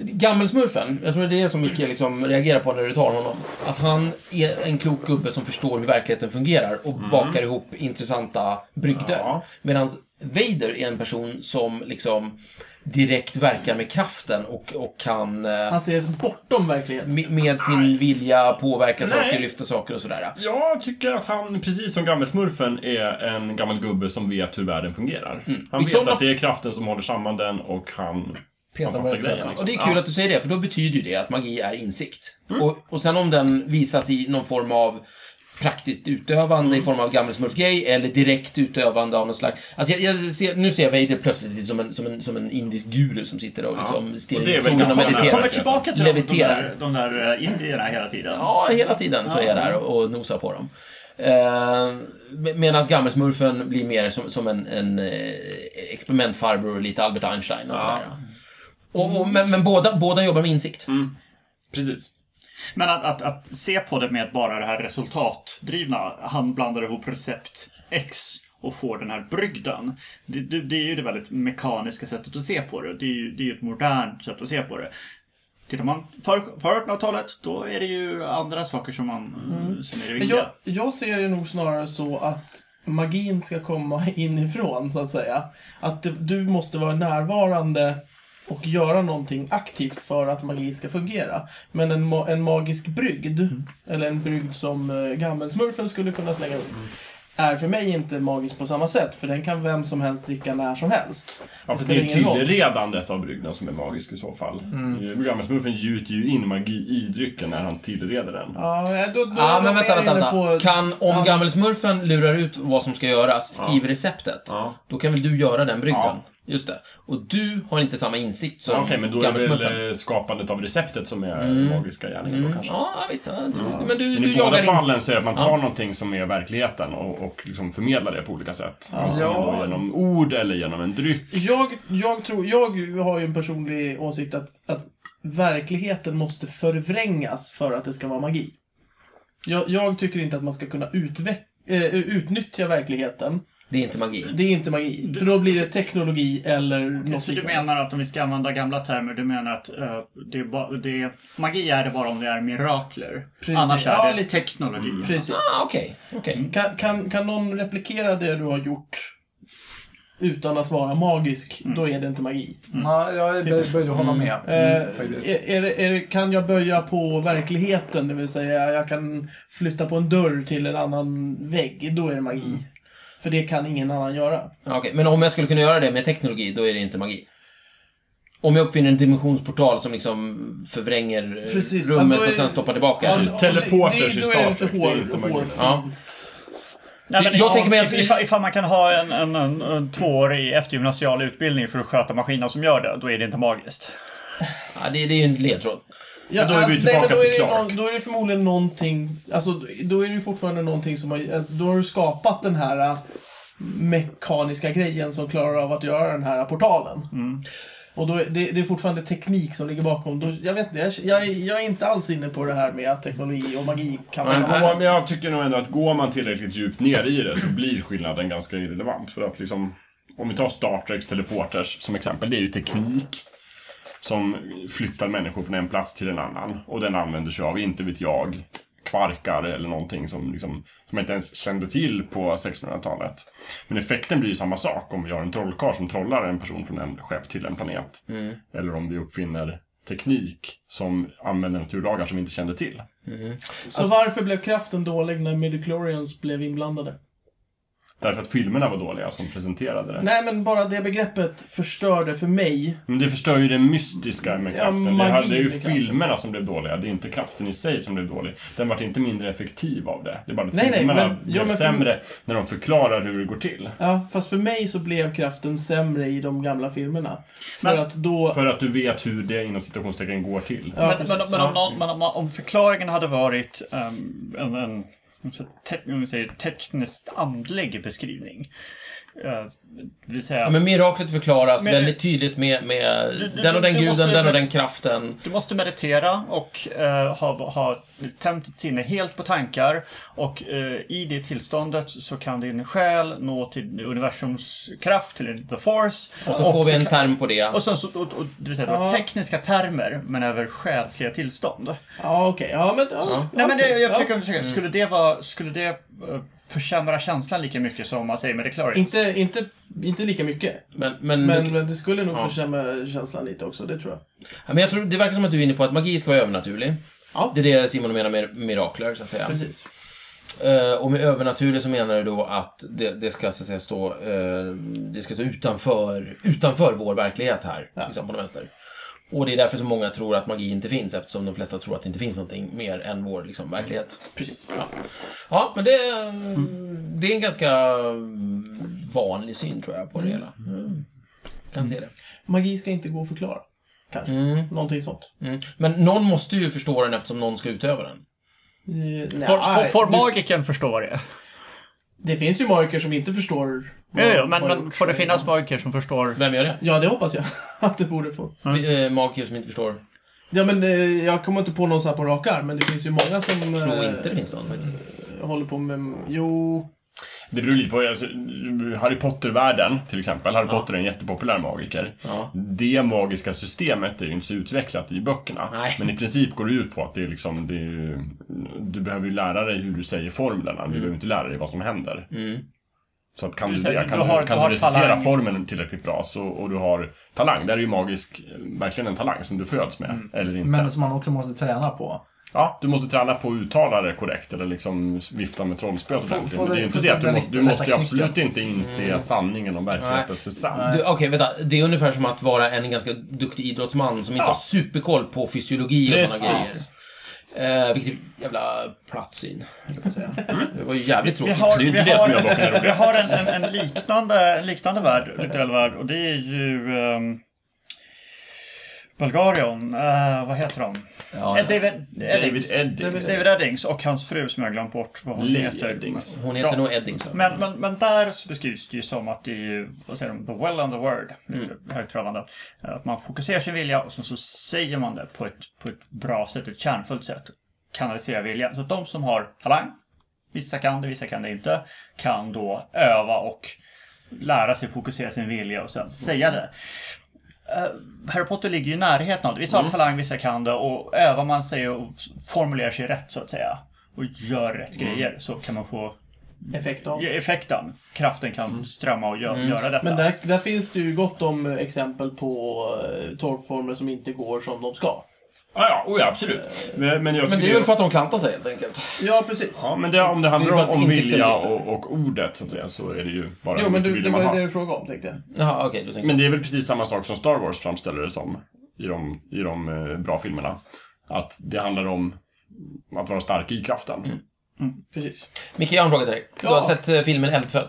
Speaker 2: Gammelsmurfen, jag tror det är det som Micke liksom reagerar på när du tar honom. Att han är en klok gubbe som förstår hur verkligheten fungerar och bakar ihop intressanta brygder.
Speaker 3: Ja.
Speaker 2: Medan Vader är en person som liksom direkt verkar med kraften och, och kan eh,
Speaker 1: Han ser bortom verkligheten.
Speaker 2: med, med sin vilja påverka saker, lyfta saker och sådär.
Speaker 3: Jag tycker att han, precis som gammelsmurfen, är en gammal gubbe som vet hur världen fungerar. Han
Speaker 2: Mm. I
Speaker 3: vet
Speaker 2: sådana-
Speaker 3: att det är kraften som håller samman den och han...
Speaker 5: Petar
Speaker 3: han
Speaker 5: på
Speaker 3: fattar
Speaker 5: rätt sätt,
Speaker 3: grejen.
Speaker 5: ja.
Speaker 2: Och
Speaker 3: Liksom. Mm.
Speaker 2: det är kul att du säger det, för då betyder ju det att magi är insikt. Och, och sen om den visas i någon form av praktiskt utövande
Speaker 3: Mm.
Speaker 2: i form av gammelsmurfgrej eller direkt utövande av någon slags... Alltså jag, jag ser, nu ser jag Vader plötsligt lite som en, som en, som en indisk guru som sitter och liksom stirrar
Speaker 3: det är
Speaker 2: i
Speaker 3: väl
Speaker 2: solen och
Speaker 3: ganska-
Speaker 4: Jag
Speaker 2: mediterar.
Speaker 4: kommer tillbaka till de, de,
Speaker 2: Leviterar.
Speaker 4: där, de där eh, indierna hela tiden.
Speaker 2: Ja, hela tiden så är jag där och, och nosar på dem. Eh, Medan gammelsmurfen blir mer som, som en, en eh, experimentfarbror och lite Albert Einstein och sådär. Och, och, men men båda, båda jobbar med insikt.
Speaker 3: Precis.
Speaker 4: Men att, att, att se på det med bara det här resultatdrivna. Han blandar ihop recept X och får den här brygden. Det, det, det är ju det väldigt mekaniska sättet att se på det. Det är ju, det är ju ett modernt sätt att se på det. Tittar man för, för 1800-talet, då är det ju andra saker som man... Som är det
Speaker 1: Mm.
Speaker 2: Mm,
Speaker 1: Men Jag,
Speaker 4: viktiga.
Speaker 1: jag ser det nog snarare så att magin ska komma [laughs] inifrån, så att säga. Att det- du måste vara närvarande och göra någonting aktivt för att magi ska fungera. Men en, ma- en magisk brygd,
Speaker 2: Mm.
Speaker 1: eller en brygd som eh, gammelsmurfen skulle kunna slänga upp, är för mig inte magisk på samma sätt, för den kan vem som helst dricka när som helst.
Speaker 3: Ja, för det
Speaker 1: spelar
Speaker 3: är ju
Speaker 1: ingen roll.
Speaker 3: tillredandet av brygden som är magisk i så fall. Mm. Gammelsmurfen gjuter ju in magi i drycken när han tillreder den.
Speaker 1: Ja, då, då
Speaker 2: Ja,
Speaker 1: är jag
Speaker 2: men vänta,
Speaker 1: mer
Speaker 2: vänta,
Speaker 1: inne
Speaker 2: vänta.
Speaker 1: på-
Speaker 2: Kan, om
Speaker 1: Ja.
Speaker 2: gammelsmurfen lurar ut vad som ska göras, skriver receptet,
Speaker 3: Ja.
Speaker 2: då kan väl du göra den brygden?
Speaker 3: Ja.
Speaker 2: Just det. Och du har inte samma insikt som
Speaker 3: Ja, Okej, men då är det
Speaker 2: gammelsmurfen. Mm.
Speaker 3: väl eh, skapandet av receptet som är magiska gärningen då kanske?
Speaker 2: Ja, visst. Ja. Men du,
Speaker 3: Men
Speaker 2: du
Speaker 3: i båda
Speaker 2: jagar
Speaker 3: fallen
Speaker 2: ins...
Speaker 3: så är det att man tar någonting som är verkligheten och, och liksom förmedlar det på olika sätt. Antingen
Speaker 5: Ja.
Speaker 3: då genom ord eller genom en dryck.
Speaker 1: Jag, jag, tror, jag har ju en personlig åsikt att, att verkligheten måste förvrängas för att det ska vara magi. Jag, jag tycker inte att man ska kunna utveck, eh, utnyttja verkligheten.
Speaker 2: Det är inte magi.
Speaker 1: Det är inte magi. För då blir det teknologi eller något
Speaker 4: Så du
Speaker 1: liknande.
Speaker 4: menar att om vi ska använda gamla termer, du menar att eh, det är ba, det är, magi är det bara om det är mirakler.
Speaker 1: Precis.
Speaker 4: Annars är
Speaker 1: Ja,
Speaker 4: det
Speaker 1: lite- Mm.
Speaker 4: teknologi.
Speaker 1: Precis.
Speaker 2: Ah, okej. okej.
Speaker 1: Kan, kan, kan någon replikera det du har gjort utan att vara magisk,
Speaker 4: Mm.
Speaker 1: då är det inte magi.
Speaker 5: Ja, jag bör- började hålla med.
Speaker 2: Mm,
Speaker 1: Eh,
Speaker 5: Mm. faktiskt.
Speaker 1: är, är, det- är, det- kan jag böja på verkligheten? Det vill säga, jag kan flytta på en dörr till en annan vägg. Då är det
Speaker 2: Mm.
Speaker 1: magi. För det kan ingen annan göra.
Speaker 2: Ja, okej. Men om jag skulle kunna göra det med teknologi, då är det inte magi? Om jag uppfinner en dimensionsportal som liksom förvränger eh,
Speaker 1: Precis. Ja,
Speaker 2: rummet
Speaker 1: då är-
Speaker 2: och sen stoppar tillbaka.
Speaker 3: Alltså, teleporters
Speaker 1: det-
Speaker 3: i
Speaker 1: då är
Speaker 3: Star
Speaker 1: det lite
Speaker 3: Trek, det är
Speaker 1: hår-
Speaker 3: inte magi.
Speaker 1: hårfint.
Speaker 2: Ja.
Speaker 4: Nej, men
Speaker 2: Jag
Speaker 4: ja,
Speaker 2: tänker mig att-
Speaker 4: ifall, ifall man kan ha en, en, en, en tvåårig eftergymnasial utbildning för att sköta maskiner som gör det, då är det inte magiskt.
Speaker 2: Ja, det, det är ju en ledtråd.
Speaker 1: Ja,
Speaker 3: Men då är vi
Speaker 1: alltså,
Speaker 3: tillbaka
Speaker 1: nej, men då
Speaker 3: till
Speaker 1: är det
Speaker 3: Clark.
Speaker 1: någon- Då är det förmodligen någonting, alltså då är det ju fortfarande någonting som har, alltså, då har du skapat den här äh, mekaniska grejen som klarar av att göra den här portalen.
Speaker 3: Mm.
Speaker 1: Och då, är- det, det är fortfarande teknik som ligger bakom. Då, jag vet inte, jag, jag, jag är inte alls inne på det här med att teknologi och magi kan vara
Speaker 2: Men-
Speaker 1: samma
Speaker 3: Ja,
Speaker 1: sak.
Speaker 3: men jag tycker nog ändå att går man tillräckligt djupt ner i det så blir skillnaden ganska irrelevant. För att liksom, om vi tar Star Treks teleporters som exempel, det är ju teknik som flyttar människor från en plats till en annan. Och den använder sig av, inte vet jag, kvarkar eller någonting som, liksom, som jag inte ens kände till på 1600-talet. Men effekten blir ju samma sak om vi har en trollkarl som trollar en person från en skepp till en planet. Eller om vi uppfinner teknik som använder naturlagar som vi inte kände till.
Speaker 1: Så varför blev kraften dålig när midichlorians blev inblandade?
Speaker 3: Därför att filmerna var dåliga som presenterade det.
Speaker 1: Nej men bara det begreppet förstörde för mig
Speaker 3: Men det förstör ju det mystiska med
Speaker 1: Ja,
Speaker 3: kraften. det,
Speaker 1: magin
Speaker 3: här, det är ju
Speaker 1: med kraften.
Speaker 3: filmerna som blev dåliga. Det är inte kraften i sig som blev dålig. Den vart inte mindre effektiv av det. Det är bara att
Speaker 1: Nej, nej,
Speaker 3: filmerna
Speaker 1: men- jo,
Speaker 3: blev
Speaker 1: men för-
Speaker 3: sämre när de förklarar hur det går till.
Speaker 1: Ja, fast för mig så blev kraften sämre i de gamla filmerna. För
Speaker 4: Men-
Speaker 1: att då...
Speaker 3: För att du vet hur det inom citationstecken går till.
Speaker 1: Ja,
Speaker 4: men,
Speaker 1: precis.
Speaker 4: men, men, om, någon, men om, om förklaringen hade varit ehm, en, en så te, om vi säger, tekniskt andlig beskrivning. Uh, det vill säga,
Speaker 2: Ja, men miraklet förklaras
Speaker 4: Men-
Speaker 2: väldigt tydligt med, med
Speaker 4: Du- du-
Speaker 2: den och den
Speaker 4: du
Speaker 2: guden,
Speaker 4: måste-
Speaker 2: den och den kraften.
Speaker 4: Du måste meditera och eh, ha, ha tämt ditt sinne helt på tankar. Och eh, i det tillståndet så kan din själ nå till universums kraft, till the force.
Speaker 2: Och så får vi en term på det.
Speaker 4: Och sen så, och, och, det vill säga, det var
Speaker 1: Ja.
Speaker 4: tekniska termer, men över själsliga tillstånd.
Speaker 1: Ja, okej. Ja, men... Ja,
Speaker 4: Nej, men det, jag
Speaker 1: okej.
Speaker 4: försöker undersöka, skulle det, vara, skulle det eh, försämra känslan lika mycket som man säger med
Speaker 1: Ja.
Speaker 4: declarings?
Speaker 1: Inte, inte, inte lika mycket.
Speaker 2: Men, men,
Speaker 4: Mm.
Speaker 1: Men, men det skulle nog försämra känslan lite också, det tror jag.
Speaker 2: Ja, men jag tror, det verkar som att du är inne på att magi ska vara övernaturlig.
Speaker 1: Ja.
Speaker 2: Det är det Simon menar med mirakler, så att säga.
Speaker 1: Precis.
Speaker 2: Eh, och med övernaturlig så menar du då att det, det ska så att säga stå, eh, det ska stå utanför, utanför vår verklighet här, liksom på den vänster. Och det är därför så många tror att magi inte finns, eftersom de flesta tror att det inte finns någonting mer än vår liksom, verklighet.
Speaker 1: Precis.
Speaker 2: Ja, ja men det, det är en ganska vanlig syn, tror jag, på det hela. Mm. Kan se det.
Speaker 1: Magi ska inte gå att förklara. Kanske. Någonting sånt.
Speaker 2: Mm. Men någon måste ju förstå den eftersom någon ska utöva den.
Speaker 1: Eh, nej,
Speaker 4: Får, får, får
Speaker 1: du-
Speaker 4: magiken förstå det?
Speaker 1: Det finns ju magiker som inte förstår.
Speaker 4: Ja,
Speaker 1: vad-
Speaker 4: ja, men,
Speaker 1: vad-
Speaker 4: men får det finnas magiker som förstår?
Speaker 2: Vem gör det?
Speaker 1: Ja, det hoppas jag [laughs] att det borde få.
Speaker 2: Vi- eh, Magiker som inte förstår.
Speaker 1: Ja, men eh, jag kommer inte på någon så här på rak arm, men det finns ju många som
Speaker 2: Jag tror
Speaker 1: eh,
Speaker 2: inte det finns någon faktiskt.
Speaker 1: håller på med... Jo...
Speaker 3: Det beror lite på. Alltså, Harry Potter-världen till exempel. Harry Potter är en jättepopulär magiker.
Speaker 2: Ja.
Speaker 3: Det magiska systemet är ju inte så utvecklat i böckerna.
Speaker 2: Nej.
Speaker 3: Men i princip går det ut på att det är liksom, det är, ju- du behöver ju lära dig hur du säger formlerna. Du behöver inte lära dig vad som händer. Så att kan du,
Speaker 4: Du
Speaker 3: det,
Speaker 4: säger,
Speaker 3: kan
Speaker 4: du
Speaker 3: du,
Speaker 4: har-
Speaker 3: kan
Speaker 4: du
Speaker 3: du,
Speaker 4: har
Speaker 3: recitera
Speaker 4: talang.
Speaker 3: formeln tillräckligt bra så, och du har talang. Där är ju magisk eh, verkligen en talang som du föds med. Eller inte.
Speaker 5: Men som man också måste träna på.
Speaker 3: Ja, du måste träna på att uttala det korrekt eller liksom vifta med trollspöet ordentligt.
Speaker 5: få
Speaker 3: Men det är
Speaker 5: det-
Speaker 3: ju inte
Speaker 5: få
Speaker 3: det att du
Speaker 5: den
Speaker 3: måste, du
Speaker 5: rätta
Speaker 3: måste ju
Speaker 5: knycken.
Speaker 3: absolut inte inse sanningen om verklighetens essens.
Speaker 2: Du, Okej, vänta. Det är ungefär som att vara en ganska duktig idrottsman som inte
Speaker 3: Ja.
Speaker 2: har superkoll på fysiologi och sådana grejer.
Speaker 3: Precis.
Speaker 2: Eh, vilket jävla platssyn, höll jag på att säga. Det var ju jävligt
Speaker 4: Vi
Speaker 2: tråkigt.
Speaker 4: har,
Speaker 3: Det är ju inte
Speaker 4: vi
Speaker 3: det
Speaker 4: har,
Speaker 3: som gör boken
Speaker 4: [laughs]
Speaker 3: rolig.
Speaker 4: Vi har en, en, en, liknande, en liknande värld, virtuell värld, och det är ju ehm, Bulgarion, eh, vad heter de?
Speaker 2: Ja,
Speaker 4: Eh, David,
Speaker 3: David
Speaker 4: Eddings.
Speaker 3: Eddings.
Speaker 4: David Eddings och hans fru som jag glömt bort vad hon
Speaker 3: Lee
Speaker 4: heter.
Speaker 3: Eddings.
Speaker 2: Hon heter
Speaker 4: Ja.
Speaker 2: nog Eddings. va?
Speaker 4: Men, men, men där så beskrivs det ju som att det är ju, vad säger de, the well and the word. lite Högtravande. Att man fokuserar sin vilja och sen så säger man det på ett, på ett bra sätt, ett kärnfullt sätt. Kanaliserar viljan. Så att de som har talang, vissa kan det, vissa kan det inte, kan då öva och lära sig fokusera sin vilja och sen säga det. Eh, Harry Potter ligger ju i närheten av det. Vissa har talang, vissa kan det och övar man sig och formulerar sig rätt så att säga och gör rätt grejer så kan man få
Speaker 1: effekt av.
Speaker 4: effekten, kraften kan
Speaker 6: Mm.
Speaker 4: strömma och gö- göra detta.
Speaker 1: Men där, där finns det ju gott om eh, exempel på eh, torkformer som inte går som de ska.
Speaker 3: Ja, ja, oh ja absolut. Men, men, jag
Speaker 2: Men
Speaker 3: tycker
Speaker 2: det är väl för att de klantar sig helt enkelt.
Speaker 1: Ja, precis.
Speaker 3: Ja, men det, om
Speaker 2: Det
Speaker 3: det
Speaker 2: är
Speaker 3: handlar
Speaker 2: för
Speaker 3: om,
Speaker 2: att
Speaker 3: om
Speaker 2: insikten
Speaker 3: vilja
Speaker 2: finns där.
Speaker 3: och, och ordet så att säga, så är det ju bara
Speaker 1: Jo,
Speaker 3: hur
Speaker 1: men
Speaker 3: mycket
Speaker 1: du, det
Speaker 3: vilja
Speaker 1: var
Speaker 3: man
Speaker 1: ju
Speaker 3: har.
Speaker 1: det du frågade om, tänkte jag.
Speaker 2: Jaha, okej. du tänker
Speaker 3: Men det är väl precis samma sak som Star Wars framställer det som i de, i de eh, bra filmerna. Att det handlar om att vara stark i kraften.
Speaker 1: Precis.
Speaker 2: Micke, jag har en fråga till dig. Du
Speaker 1: Ja.
Speaker 2: har sett eh, filmen Eldfödd.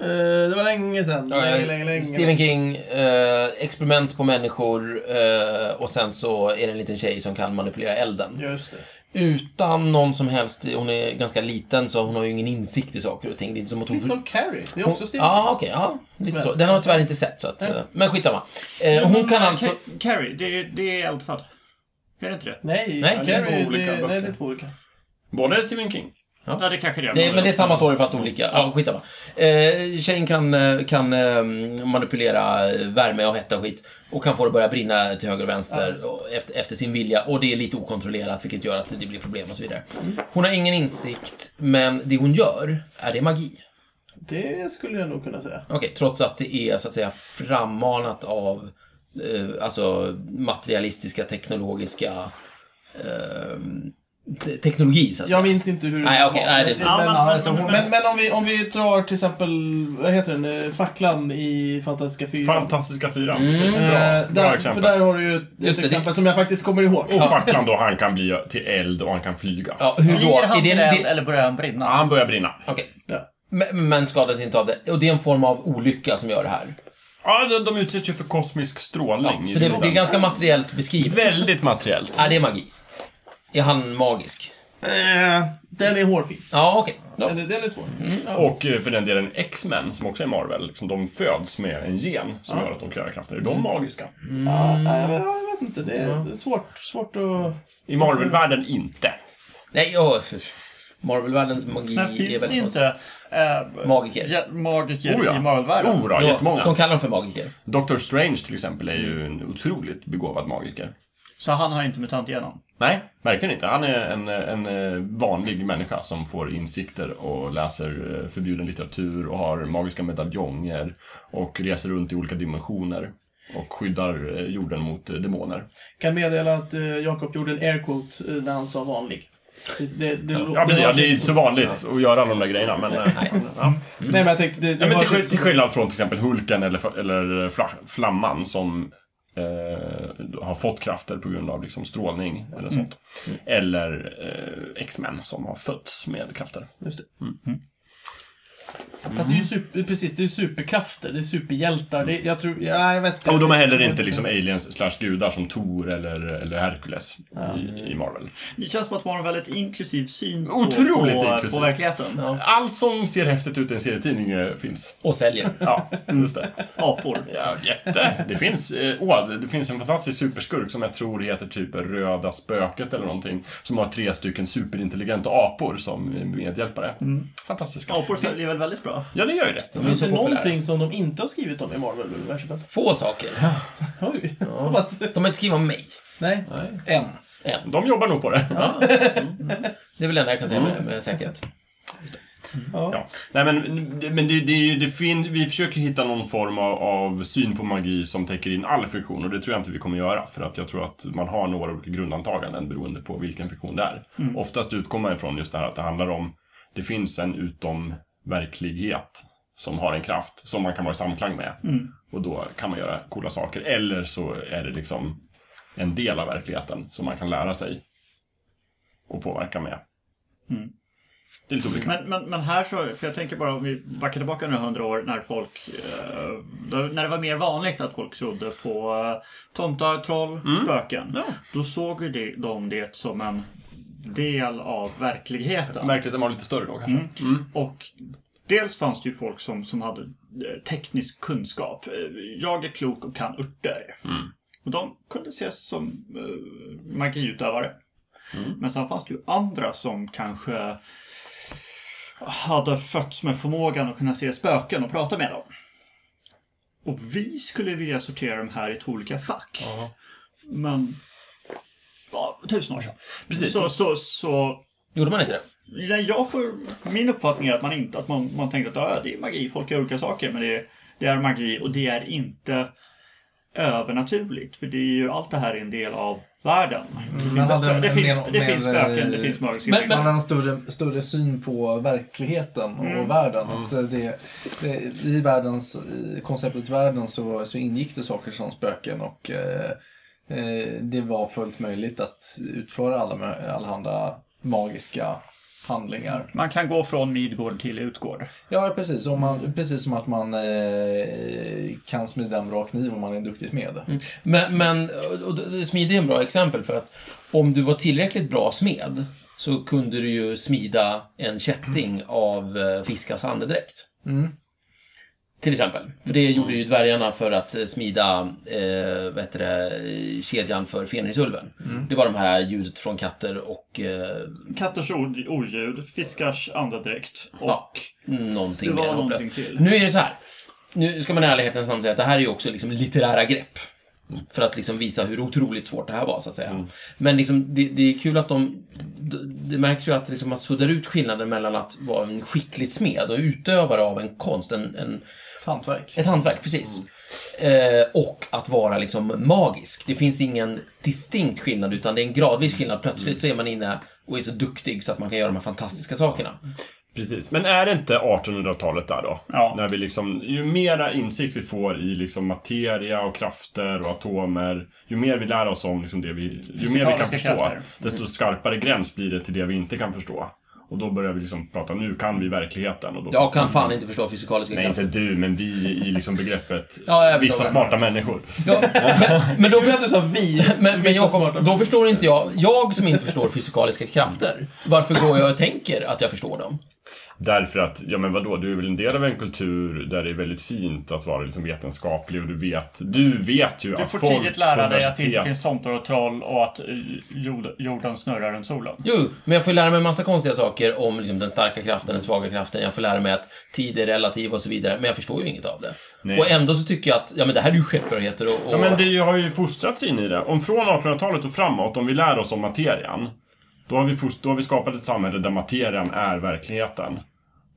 Speaker 1: Eh, det var länge sedan.
Speaker 2: Ja,
Speaker 1: länge, länge, länge.
Speaker 2: Stephen King, eh, experiment på människor eh, och sen så är det en liten tjej som kan manipulera elden.
Speaker 1: Just det.
Speaker 2: Utan någon som helst, hon är ganska liten så hon har ju ingen insikt i saker och ting. Det är inte som att hon...
Speaker 1: Lite som Carrie. Det är
Speaker 2: Hon-
Speaker 1: också Stephen
Speaker 2: Ja, okej. ja, lite
Speaker 1: Men-
Speaker 2: så. Den har jag tyvärr inte sett, så att, eh, men skitsamma. Eh, hon kan alltså...
Speaker 4: Ca- Carrie, det, det är Eldfall. Är det inte det?
Speaker 1: Nej,
Speaker 2: Nej,
Speaker 1: det är två
Speaker 3: olika
Speaker 1: det, Nej,
Speaker 3: böcker.
Speaker 1: det är två olika.
Speaker 3: Både Stephen King.
Speaker 4: Ja, det kanske det är.
Speaker 2: Det, men det är samma story fast olika. Ja, skitsamma. Eh, tjejen kan, eh, kan eh, manipulera eh, värme och hetta och skit. Och kan få det att börja brinna till höger och vänster och efter, efter sin vilja. Och det är lite okontrollerat vilket gör att det blir problem och så vidare. Hon har ingen insikt, men det hon gör, är det magi?
Speaker 1: Det skulle jag nog kunna säga.
Speaker 2: Okej, trots att det är så att säga frammanat av eh, alltså materialistiska, teknologiska eh, te- teknologi så att säga.
Speaker 1: Jag minns inte hur
Speaker 2: Nej, okej, nej, det är så.
Speaker 1: men,
Speaker 4: Ja, men-
Speaker 5: alltså,
Speaker 4: men-
Speaker 5: hon-
Speaker 1: men, men om, vi, om vi drar till exempel, vad heter den, eh, Facklan i Fantastiska fyran.
Speaker 3: Fantastiska fyran. Precis,
Speaker 1: Eh,
Speaker 3: bra, bra
Speaker 1: där, för
Speaker 3: exempel.
Speaker 1: där har du ju ett
Speaker 2: Just det,
Speaker 1: exempel som jag faktiskt kommer ihåg.
Speaker 3: Och facklan då, han kan bli till eld och han kan flyga.
Speaker 2: Ja, hur då?
Speaker 6: Blir han
Speaker 2: Är det
Speaker 6: till
Speaker 2: en,
Speaker 6: eld
Speaker 2: det,
Speaker 6: eller börjar han
Speaker 3: Ja,
Speaker 6: brinna?
Speaker 3: han börjar brinna.
Speaker 2: okej.
Speaker 1: Ja.
Speaker 2: Men, men skadas inte av det. Och det är en form av olycka som gör det här.
Speaker 3: Ja, de, de utsätts ju för kosmisk strålning.
Speaker 2: Ja,
Speaker 3: i
Speaker 2: så det,
Speaker 3: rymden.
Speaker 2: det är ganska materiellt beskrivet.
Speaker 3: Väldigt materiellt.
Speaker 2: Ja, det är magi. Är han magisk?
Speaker 1: Eh, den är hårfin.
Speaker 2: Ja, okej. Ja.
Speaker 1: Den är, den är svår.
Speaker 3: Och eh, för den delen X-Men, som också är Marvel, liksom, de föds med en gen som gör att de kan göra krafter. Är
Speaker 2: Mm.
Speaker 3: de magiska?
Speaker 1: Ja, nej, jag, vet, jag vet inte, det är det är svårt, svårt att...
Speaker 3: I Marvel-världen inte.
Speaker 2: Nej, åh. Marvel-världens magi
Speaker 4: Men
Speaker 2: är
Speaker 4: finns det
Speaker 2: väldigt konstig.
Speaker 4: inte äh,
Speaker 2: Magiker.
Speaker 4: magiker
Speaker 3: Oh, ja.
Speaker 4: i Marvel-världen?
Speaker 3: Oh, ja, jättemånga.
Speaker 2: de kallar dem för magiker.
Speaker 3: Doctor Strange till exempel är ju en otroligt begåvad magiker.
Speaker 4: Så han har inte mutant igenom.
Speaker 3: Nej, verkligen inte. Han är en, en eh, vanlig människa som får insikter och läser eh, förbjuden litteratur och har magiska medaljonger och reser runt i olika dimensioner och skyddar eh, jorden mot eh, demoner.
Speaker 1: Kan meddela att eh, Jakob gjorde en airquote eh, när han sa vanlig. Det, det, det,
Speaker 3: Ja, precis. Ja,
Speaker 1: hörs
Speaker 3: det är ju
Speaker 1: inte
Speaker 3: inte så
Speaker 1: så-
Speaker 3: vanligt att göra alla de där grejerna, men... eh, Ja.
Speaker 1: Nej, men jag tänkte... Det, det
Speaker 3: Ja, men
Speaker 1: hörs inte
Speaker 3: till, skill-
Speaker 1: så-
Speaker 3: till skillnad från till exempel Hulken eller, eller eh, fla, Flamman som eh, har fått krafter på grund av liksom, strålning eller sånt. Eller eh, X-Men som har fötts med krafter.
Speaker 1: Just det. Fast det är ju super, precis, det är ju superkrafter, det är superhjältar. Det, jag tror, ja, jag vet inte.
Speaker 3: Och de är heller inte liksom aliens slash gudar som Thor eller, eller Herkules i, i Marvel.
Speaker 4: Det känns som att man har en väldigt inklusiv syn på,
Speaker 3: Otroligt
Speaker 4: på,
Speaker 3: inklusiv.
Speaker 4: på verkligheten.
Speaker 3: Allt som ser häftigt ut i en serietidning eh, finns.
Speaker 2: Och säljer.
Speaker 3: Ja, just det.
Speaker 2: [laughs]
Speaker 4: Apor.
Speaker 3: Ja, jätte. Det finns, eh, åh, det finns en fantastisk superskurk som jag tror heter typ Röda Spöket eller någonting. Som har tre stycken superintelligenta apor som medhjälpare. Fantastiska.
Speaker 4: Apor säljer väl väldigt bra?
Speaker 3: Ja, det gör ju det.
Speaker 2: De är
Speaker 1: Finns
Speaker 2: så
Speaker 1: det
Speaker 2: populära.
Speaker 1: någonting som de inte har skrivit om i Marvel-universumet?
Speaker 2: Få saker.
Speaker 1: Oj, [laughs] så pass...
Speaker 2: De har inte skrivit om mig.
Speaker 1: Nej.
Speaker 5: En.
Speaker 2: Än.
Speaker 3: De jobbar nog på det.
Speaker 2: Det är väl det enda jag kan säga med, med säkerhet.
Speaker 3: Ja. Nej, men, men det, det, är ju- det fin, vi försöker hitta någon form av, av syn på magi som täcker in all friktion och det tror jag inte vi kommer göra. För att jag tror att man har några olika grundantaganden beroende på vilken friktion det är. Oftast utgår man ifrån just det här att det handlar om det finns en utomverklighet som har en kraft som man kan vara i samklang med. Och då kan man göra coola saker. Eller så är det liksom en del av verkligheten som man kan lära sig och påverka med. Det är lite olika.
Speaker 4: Men, men, men här så, för jag tänker bara om vi backar tillbaka några hundra år när folk, eh, då- när det var mer vanligt att folk trodde på eh, tomtar, troll, spöken. Då såg ju det- de det som en del av verkligheten.
Speaker 3: Verkligheten var lite större då kanske.
Speaker 4: Och dels fanns det ju folk som, som hade eh, teknisk kunskap. Eh, Jag är klok och kan örter. Och de kunde ses som eh, magiutövare. Men sen fanns det ju andra som kanske hade fötts med förmågan att kunna se spöken och prata med dem. Och vi skulle vilja sortera dem här i två olika fack. Men ja, tusen år sedan.
Speaker 3: Precis.
Speaker 4: Så, så, så
Speaker 2: Gjorde man inte det?
Speaker 4: Nej, jag får, min uppfattning är att man inte att man, man tänker att ah, det är magi, folk gör olika saker, men det, det är magi och det är inte övernaturligt. För det är ju, allt det här är en del av världen.
Speaker 3: Mm.
Speaker 4: Det finns,
Speaker 5: hade
Speaker 4: spö-
Speaker 5: en-
Speaker 4: det
Speaker 5: en
Speaker 4: finns,
Speaker 5: del-
Speaker 4: det finns
Speaker 5: mer- eh,
Speaker 4: spöken, det finns magiska
Speaker 2: Men-
Speaker 4: ting.
Speaker 5: Man har en större, större syn på verkligheten och
Speaker 4: Mm.
Speaker 5: världen. Att eh, det, det, I världens, i konceptet världen så, så ingick det saker som spöken och eh, eh, det var fullt möjligt att utföra alla, mö- allehanda magiska handlingar.
Speaker 4: Man kan gå från Midgård till Utgård.
Speaker 5: Ja, precis. Om man, precis som att man eh, kan smida en bra kniv om man är duktig smed.
Speaker 4: Mm.
Speaker 2: Men, men och det- smide är en bra exempel för att om du var tillräckligt bra smed så kunde du ju smida en kätting av eh, fiskars andedräkt. Till exempel. För det gjorde ju dvärgarna för att eh, smida eh, vad heter det, kedjan för Fenrisulven. Det var de här ljudet från katter och eh,
Speaker 4: Katters ord- oljud, fiskars andedräkt och
Speaker 2: Ja. någonting
Speaker 4: Det var
Speaker 2: mer hopplöst.
Speaker 4: någonting till.
Speaker 2: Nu är det så här. Nu ska man i ärlighetens namn säga att det här är ju också liksom litterära grepp. För att liksom visa hur otroligt svårt det här var, så att
Speaker 4: Mm.
Speaker 2: säga. Men liksom, det, det är kul att de... d- Det märks ju att liksom man suddar ut skillnaden mellan att vara en skicklig smed och utövare av en konst, en, en,
Speaker 5: Ett hantverk.
Speaker 2: ett hantverk, precis.
Speaker 4: Mm.
Speaker 2: Eh, och att vara liksom magisk. Det finns ingen distinkt skillnad, utan det är en gradvis skillnad.
Speaker 4: Mm.
Speaker 2: Plötsligt så är man inne och är så duktig så att man kan göra de här fantastiska sakerna.
Speaker 4: Mm.
Speaker 3: Precis, men är det inte 1800-talet där då?
Speaker 4: Ja.
Speaker 3: När vi liksom, ju mera insikt vi får i liksom materia och krafter och atomer, ju mer vi lär oss om liksom det vi, ju mer vi kan
Speaker 4: Fysikaliska
Speaker 3: förstå,
Speaker 4: krafter.
Speaker 3: desto skarpare gräns blir det till det vi inte kan förstå. Och då börjar vi liksom prata, nu kan vi verkligheten. Och då
Speaker 2: Jag
Speaker 3: finns det
Speaker 2: kan
Speaker 3: en-
Speaker 2: fan inte förstå fysikaliska
Speaker 3: Nej,
Speaker 2: krafter.
Speaker 3: inte du, men vi i liksom begreppet
Speaker 2: [laughs] Ja, jag
Speaker 3: vissa
Speaker 2: förstår.
Speaker 3: smarta människor.
Speaker 2: Ja, men, men, då,
Speaker 1: Just det, sa
Speaker 2: förstår-
Speaker 1: vi.
Speaker 2: [laughs] men, men
Speaker 1: Vissa
Speaker 2: Jakob,
Speaker 1: smarta
Speaker 2: då förstår inte jag, jag som inte förstår fysikaliska krafter, varför går jag och tänker att jag förstår dem?
Speaker 3: Därför att, ja men vadå, du är väl en del av en kultur där det är väldigt fint att vara liksom vetenskaplig och du vet, du vet ju
Speaker 4: Du
Speaker 3: att
Speaker 4: får
Speaker 3: folk
Speaker 4: tidigt lära
Speaker 3: på
Speaker 4: dig att det inte
Speaker 3: universitet-
Speaker 4: finns tomtar och troll och att eh, jord, jorden snurrar runt solen.
Speaker 2: Jo, men jag får lära mig en massa konstiga saker om liksom, den starka kraften, den svaga kraften, jag får lära mig att tid är relativ och så vidare, men jag förstår ju inget av det.
Speaker 3: Nej.
Speaker 2: Och ändå så tycker jag att, ja men det här är ju självklarheter och... och
Speaker 3: Ja, men det har ju fostrats in i det. Om från 1800-talet och framåt, om vi lär oss om materian, då har vi, fost- då har vi skapat ett samhälle där materian är verkligheten.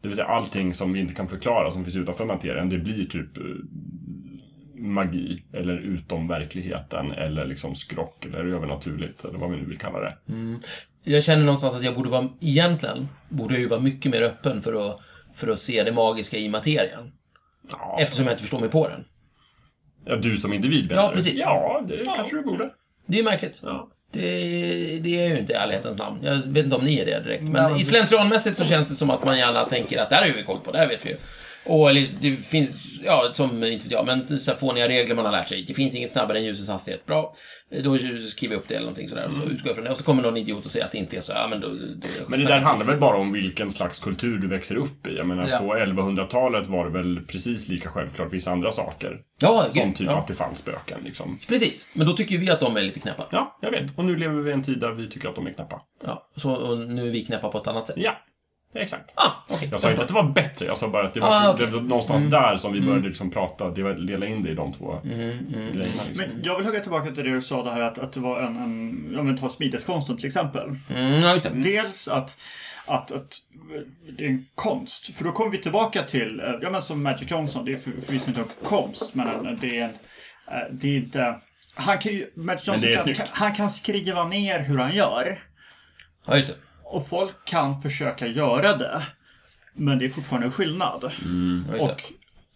Speaker 3: Det vill säga allting som vi inte kan förklara, som finns utanför materian, det blir typ eh, magi, eller utom verkligheten, eller liksom skrock, eller övernaturligt, eller vad vi nu vill kalla det.
Speaker 2: Jag känner någonstans att jag borde vara, egentligen, borde jag ju vara mycket mer öppen för att, för att se det magiska i materien.
Speaker 3: Ja.
Speaker 2: Eftersom jag inte förstår mig på den.
Speaker 3: Ja, du som individ menar
Speaker 2: Ja,
Speaker 3: du?
Speaker 2: precis.
Speaker 3: Ja, det kanske du borde.
Speaker 2: Det är ju märkligt.
Speaker 3: Ja.
Speaker 2: Det, det är ju inte i ärlighetens namn. Jag vet inte om ni är det direkt. Men i slentrianmässigt så känns det som att man gärna tänker att det här har vi koll på, det här vet vi ju. Och eller, det finns, ja, som, inte vet jag, men så här fåniga regler man har lärt sig. Det finns inget snabbare än ljusets hastighet. Bra. Då skriver jag upp det eller någonting sådär och så utgår jag från det. Och så kommer någon idiot och säger att det inte är så. Ja, men då, då,
Speaker 3: Mm. Men det där handlar väl bara om vilken slags kultur du växer upp i? Jag menar,
Speaker 5: Ja.
Speaker 3: på 1100-talet var det väl precis lika självklart vissa andra saker.
Speaker 2: Ja,
Speaker 3: Som
Speaker 2: gud,
Speaker 3: typ
Speaker 2: ja,
Speaker 3: att det fanns spöken, liksom.
Speaker 2: precis. Men då tycker vi att de är lite knäppa.
Speaker 3: Ja, jag vet. Och nu lever vi i en tid där vi tycker att de är knäppa.
Speaker 2: Ja, så, och nu är vi knäppa på ett annat sätt.
Speaker 3: Ja, exakt.
Speaker 2: Ah, okej.
Speaker 3: Jag sa inte att det var bättre, jag sa bara att det var,
Speaker 2: Ah, okej. Mm.
Speaker 3: det var någonstans där som vi började liksom prata, det var, dela in det i de två grejerna. Liksom.
Speaker 4: Men jag vill hugga tillbaka till det du sa det här att, att det var en, en ja men ta smideskonsten till exempel.
Speaker 2: Mm, ja, just det.
Speaker 4: Dels att, att, att det är en konst, för då kommer vi tillbaka till, eh, ja men som Magic Johnson, det är för- förvisso inte en konst, men en- det är en, eh, det är inte, han kan ju, Magic
Speaker 3: Men
Speaker 4: Johnson
Speaker 3: det är
Speaker 4: kan,
Speaker 3: snyggt.
Speaker 4: kan, han kan skriva ner hur han gör.
Speaker 2: Ja, just det.
Speaker 4: Och folk kan försöka göra det. Men det är fortfarande en skillnad.
Speaker 2: Ja, just det.
Speaker 4: Och,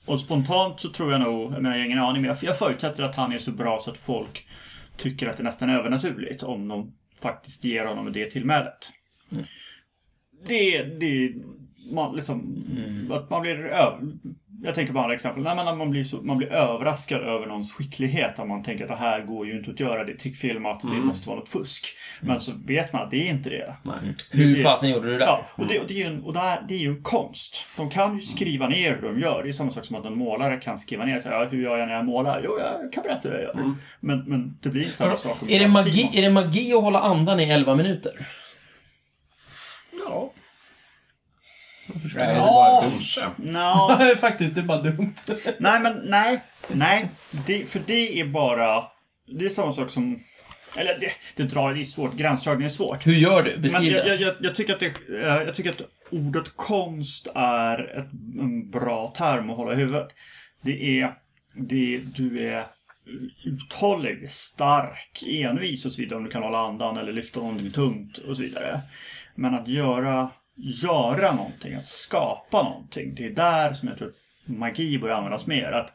Speaker 4: och spontant så tror jag nog, jag menar jag har ingen aning, men jag, jag förutsätter att han är så bra så att folk tycker att det är nästan övernaturligt om de faktiskt ger honom det tillmälet.
Speaker 2: Mm.
Speaker 4: Det är, det är, man liksom,
Speaker 2: Mm.
Speaker 4: att man blir ö- jag tänker bara exempel. Nej, men man, blir så, man blir överraskad över någons skicklighet. Om man tänker att det här går ju inte att göra. Det är trickfilmat.
Speaker 2: Mm.
Speaker 4: Det måste vara något fusk. Men så vet man att det är inte det.
Speaker 2: Hur fasen gjorde du det?
Speaker 4: Ja, och det, och det, är, ju en, och det, här, det är ju en konst. De kan ju skriva ner hur de gör. Det är samma sak som att en målare kan skriva ner så här, "Ja, hur gör jag när jag målar. Jo, jag kan berätta hur jag gör. Men, men det blir inte samma sak. om
Speaker 2: Mm. Är det,
Speaker 4: du gör
Speaker 2: magi,
Speaker 4: Simon.
Speaker 2: är det magi att hålla andan i 11 minuter?
Speaker 3: Ja,
Speaker 5: Nej, det var dumt.
Speaker 3: kanske.
Speaker 4: Nja,
Speaker 1: [laughs] Nej, Faktiskt, det är bara dumt.
Speaker 4: nej, men nej. Nej, det, för det är bara... Det är samma sak som Eller det, det drar, det är svårt. Gränsdragning är svårt.
Speaker 2: Hur gör du?
Speaker 4: Men
Speaker 2: Beskriv
Speaker 4: jag, jag,
Speaker 2: det.
Speaker 4: jag, jag, tycker att det, eh, jag tycker att ordet konst är ett, en bra term att hålla i huvudet. Det är, det, du är uthållig, stark, envis och så vidare om du kan hålla andan eller lyfta någonting tungt och så vidare. Men att göra, göra någonting, att skapa någonting, det är där som jag tror magi börjar användas mer. Att,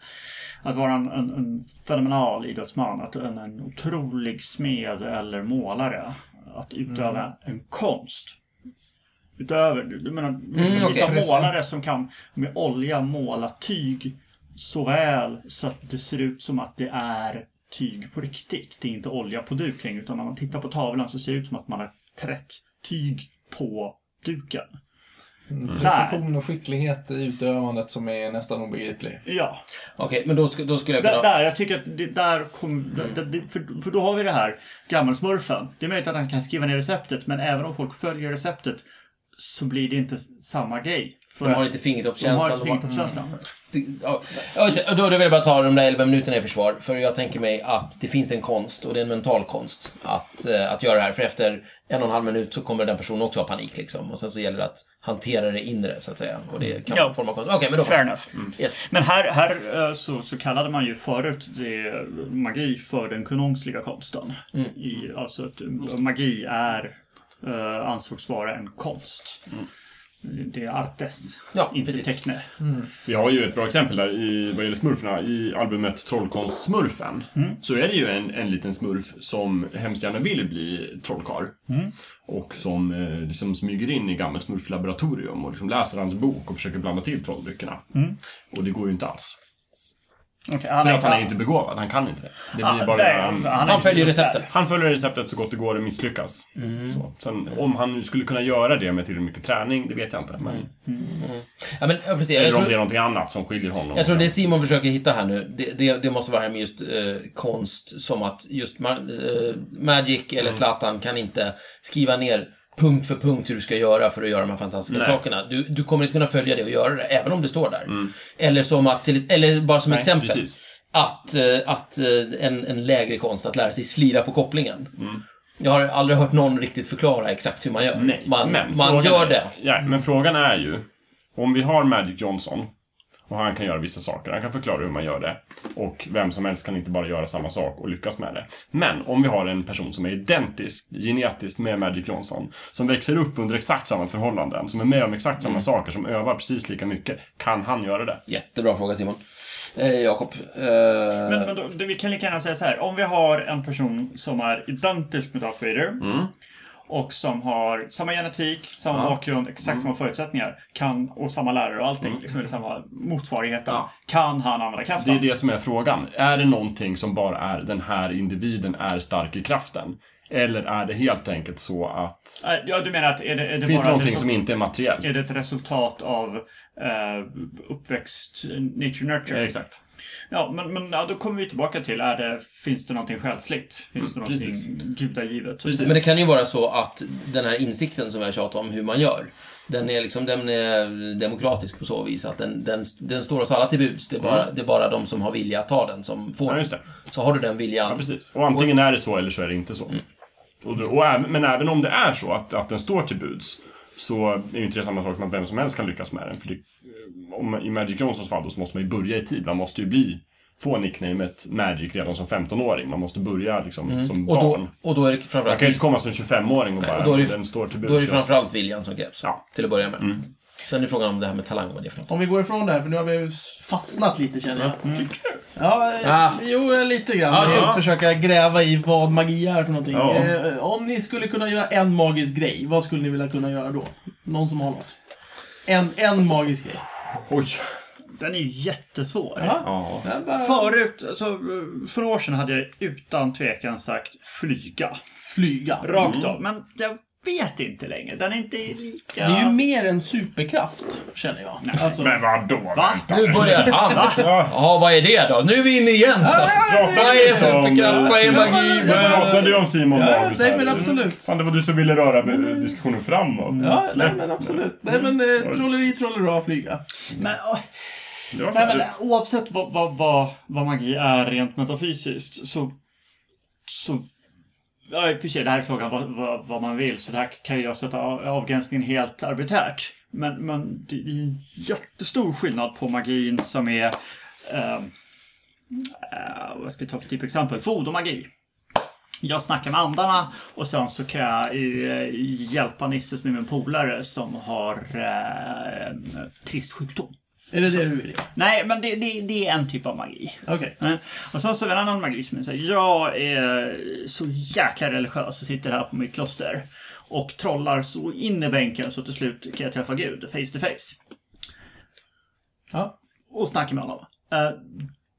Speaker 4: att vara en, en, en fenomenal idrottsman, att en, en otrolig smed eller målare. Att utöva en konst. Utöver, du menar, liksom vissa,
Speaker 2: Mm, okej.
Speaker 4: vissa målare som kan med olja måla tyg så väl så att det ser ut som att det är tyg på riktigt. Det är inte olja på duk längre, utan när man tittar på tavlan så ser det ut som att man har trätt tyg på duken.
Speaker 5: Precision och skicklighet i utövandet som är nästan obegriplig.
Speaker 4: Ja,
Speaker 2: Okej, men då, sk- då skulle jag
Speaker 4: Där,
Speaker 2: kunna...
Speaker 4: där, jag tycker att det, där kom, det, det, för, för då har vi det här gammelsmurfen. Det är möjligt att han kan skriva ner receptet, men även om folk följer receptet så blir det inte s- samma grej. För
Speaker 2: De har
Speaker 4: att
Speaker 2: lite
Speaker 4: de har typ ett
Speaker 2: fingertoppskänsla.
Speaker 4: fingertoppskänsla.
Speaker 2: Ja, och då då vill jag bara ta de där 11 minuterna i försvar, för jag tänker mig att det finns en konst, och det är en mental konst, att, eh, att göra det här. För efter en och en halv minut så kommer den personen också ha panik, liksom. Och sen så gäller det att hantera det inre, så att säga. Och det kan
Speaker 4: Ja.
Speaker 2: ja. forma konst. Okej, men då...
Speaker 4: Fair enough.
Speaker 2: Yes.
Speaker 4: Men här, här eh, så, så kallade man ju förut det, eh, magi för den konungsliga konsten. I, alltså att eh, magi är, eh, ansågs vara en konst. Det är artes,
Speaker 2: Ja,
Speaker 4: inte
Speaker 2: precis.
Speaker 4: teckne.
Speaker 3: Vi har ju ett bra exempel där i, vad gäller smurfarna. I albumet Trollkonst-smurfen
Speaker 4: Mm.
Speaker 3: så är det ju en, en liten smurf som hemskt gärna vill bli trollkarl.
Speaker 4: Mm.
Speaker 3: Och som eh, liksom smyger in i gammelt smurflaboratorium och liksom läser hans bok och försöker blanda till trolldryckerna. Och det går ju inte alls.
Speaker 4: Okej,
Speaker 3: För
Speaker 4: Mm. är
Speaker 3: att han är
Speaker 4: inte-
Speaker 3: inte begåvad, han kan inte det. Det blir
Speaker 4: Ah,
Speaker 3: bara...
Speaker 4: nej,
Speaker 3: han,
Speaker 4: han är
Speaker 2: Han följer
Speaker 4: inte-
Speaker 2: receptet.
Speaker 3: han följer receptet så gott det går och misslyckas.
Speaker 2: Mm.
Speaker 3: Så. Sen, om han nu skulle kunna göra det med tillräckligt mycket träning, det vet jag inte. Men,
Speaker 2: Ja, men, ja, precis.
Speaker 3: eller
Speaker 2: Mm. Jag
Speaker 3: om det är
Speaker 2: tror,
Speaker 3: någonting annat som skiljer honom.
Speaker 2: jag tror det Simon försöker hitta här nu, det, det, det måste vara här med just eh, konst, som att just ma- eh, Magic
Speaker 3: Mm.
Speaker 2: eller Zlatan kan inte skriva ner punkt för punkt hur du ska göra för att göra de här fantastiska
Speaker 3: Nej.
Speaker 2: sakerna. Du, du kommer inte kunna följa det och göra det, även om det står där. Eller, som att, till, eller bara som exempel.
Speaker 3: Mm. precis.
Speaker 2: Att, eh, att eh, en, en lägre konst, att lära sig slira på kopplingen.
Speaker 3: Mm.
Speaker 2: Jag har aldrig hört någon riktigt förklara exakt hur man gör.
Speaker 3: Nej,
Speaker 2: man
Speaker 3: men
Speaker 2: man
Speaker 3: frågan
Speaker 2: gör
Speaker 3: är,
Speaker 2: det.
Speaker 3: Ja, men frågan är ju, om vi har Magic Johnson och han kan göra vissa saker, han kan förklara hur man gör det. Och vem som helst kan inte bara göra samma sak och lyckas med det. Men om vi har en person som är identisk genetiskt med Magic Johnson, som växer upp under exakt samma förhållanden, som är med om exakt samma saker, som övar precis lika mycket, kan han göra det?
Speaker 2: Jättebra fråga Simon. Eh, Jakob. Eh,
Speaker 4: Men, men då, det, vi kan lika gärna säga så här. Om vi har en person som är identisk med Darth Vader
Speaker 3: Mm.
Speaker 4: och som har samma genetik, samma bakgrund, exakt
Speaker 3: Mm.
Speaker 4: samma förutsättningar kan, och samma lärare och allting, liksom, eller samma motsvarigheter.
Speaker 3: Ja.
Speaker 4: Kan han använda
Speaker 3: Det
Speaker 4: kraften?
Speaker 3: är det som är frågan. Är det någonting som bara är den här individen är stark i kraften? Eller är det helt enkelt så att
Speaker 4: Äh, Ja, du menar att är det, är det
Speaker 3: finns det
Speaker 4: bara ett
Speaker 3: någonting
Speaker 4: resultat,
Speaker 3: som inte är materiellt?
Speaker 4: är det ett resultat av eh, uppväxt, nature
Speaker 3: Ja,
Speaker 4: nurture?
Speaker 3: Exakt.
Speaker 4: Ja, men, men ja, då kommer vi tillbaka till, är det, finns det någonting själsligt? Finns det någonting
Speaker 3: Mm, precis.
Speaker 4: gudagivet?
Speaker 3: Precis.
Speaker 2: Men det kan ju vara så att den här insikten som jag tjatar om hur man gör, den är, liksom, den är demokratisk på så vis att den, den, den står oss alla till buds. Det är, bara, det är bara de som har vilja att ta den som får
Speaker 3: Mm. Ja,
Speaker 2: den.
Speaker 3: just det.
Speaker 2: Så har du den viljan.
Speaker 3: Ja, precis. Och antingen är det så eller så är det inte så.
Speaker 2: Mm.
Speaker 3: Och då, och även, men även om det är så att, att den står till buds så är ju inte det samma sak som att vem som helst kan lyckas med den. För det, om, I Magic Johnsons fall då, så måste man ju börja i tid. Man måste ju bli, få nicknamet Magic redan som 15-åring. Man måste börja liksom, som
Speaker 2: Mm. och,
Speaker 3: barn.
Speaker 2: då, och då är det
Speaker 3: Man kan ju
Speaker 2: framförallt,
Speaker 3: inte komma som 25-åring och bara
Speaker 2: och då är det-
Speaker 3: den står till buds.
Speaker 2: då är det
Speaker 3: Jag ska-
Speaker 2: framförallt viljan som krävs.
Speaker 3: Ja. Mm.
Speaker 2: Till att börja med. Sen är frågan om det här med talang, vad det är för något.
Speaker 1: Om vi går ifrån det här, för nu har vi fastnat lite känner jag.
Speaker 3: Mm.
Speaker 1: Ja, eh,
Speaker 2: Ah.
Speaker 1: jo eh, lite grann.
Speaker 2: Ah,
Speaker 1: jag
Speaker 2: ja.
Speaker 1: försöka gräva i vad magi är för någonting.
Speaker 3: Ja.
Speaker 1: Eh, om ni skulle kunna göra en magisk grej, vad skulle ni vilja kunna göra då? Någon som har något? En, en magisk grej.
Speaker 3: Oj.
Speaker 4: Den är ju jättesvår.
Speaker 3: Ja.
Speaker 1: Jag bara
Speaker 4: Förut, alltså, för några år sedan hade jag utan tvekan sagt flyga.
Speaker 1: Flyga.
Speaker 4: Rakt av. Men jag vet inte längre. Den är inte lika...
Speaker 1: Det är ju mer en superkraft, känner jag. Alltså,
Speaker 3: Men vadå?
Speaker 4: Va?
Speaker 2: Nu börjar han! Jaha, vad är det då? Nu är vi inne igen! Vad är superkraft? Vad är magi?
Speaker 1: Ja,
Speaker 3: Vi
Speaker 1: men-
Speaker 3: pratade ju om Simon
Speaker 1: Ja,
Speaker 3: Magnus
Speaker 1: nej,
Speaker 3: här.
Speaker 1: men absolut. Mm.
Speaker 3: Fan, det var du som ville röra med- diskussionen framåt.
Speaker 1: Ja, nej men absolut. Nej men
Speaker 3: Mm.
Speaker 1: eh, trolleri, trollera, flyga.
Speaker 4: Men, åh,
Speaker 3: Det var
Speaker 4: nej,
Speaker 3: färdigt.
Speaker 4: men, oavsett vad, vad, vad, vad magi är rent metafysiskt så, så Ja, i och för sig, det här är frågan vad, vad, vad man vill, så det här kan jag sätta av- avgränsningen helt arbiträrt. Men, men det är jättestor skillnad på magin som är... ehm, eh, vad ska vi ta för typ exempel? Fodomagi. Jag snackar med andarna och sen så kan jag eh, hjälpa Nisses nu med en polare som har eh, en trist sjukdom.
Speaker 1: Är det det du vill?
Speaker 4: Nej, men det, det, det är en typ av magi.
Speaker 1: Okej.
Speaker 4: Nej. Och sen så är det en annan magi som är så här, jag är så jäkla religiös och sitter här på mitt kloster och trollar så in i bänken så till slut kan jag träffa Gud face to face
Speaker 1: Ja.
Speaker 4: och snacka med honom. Eh,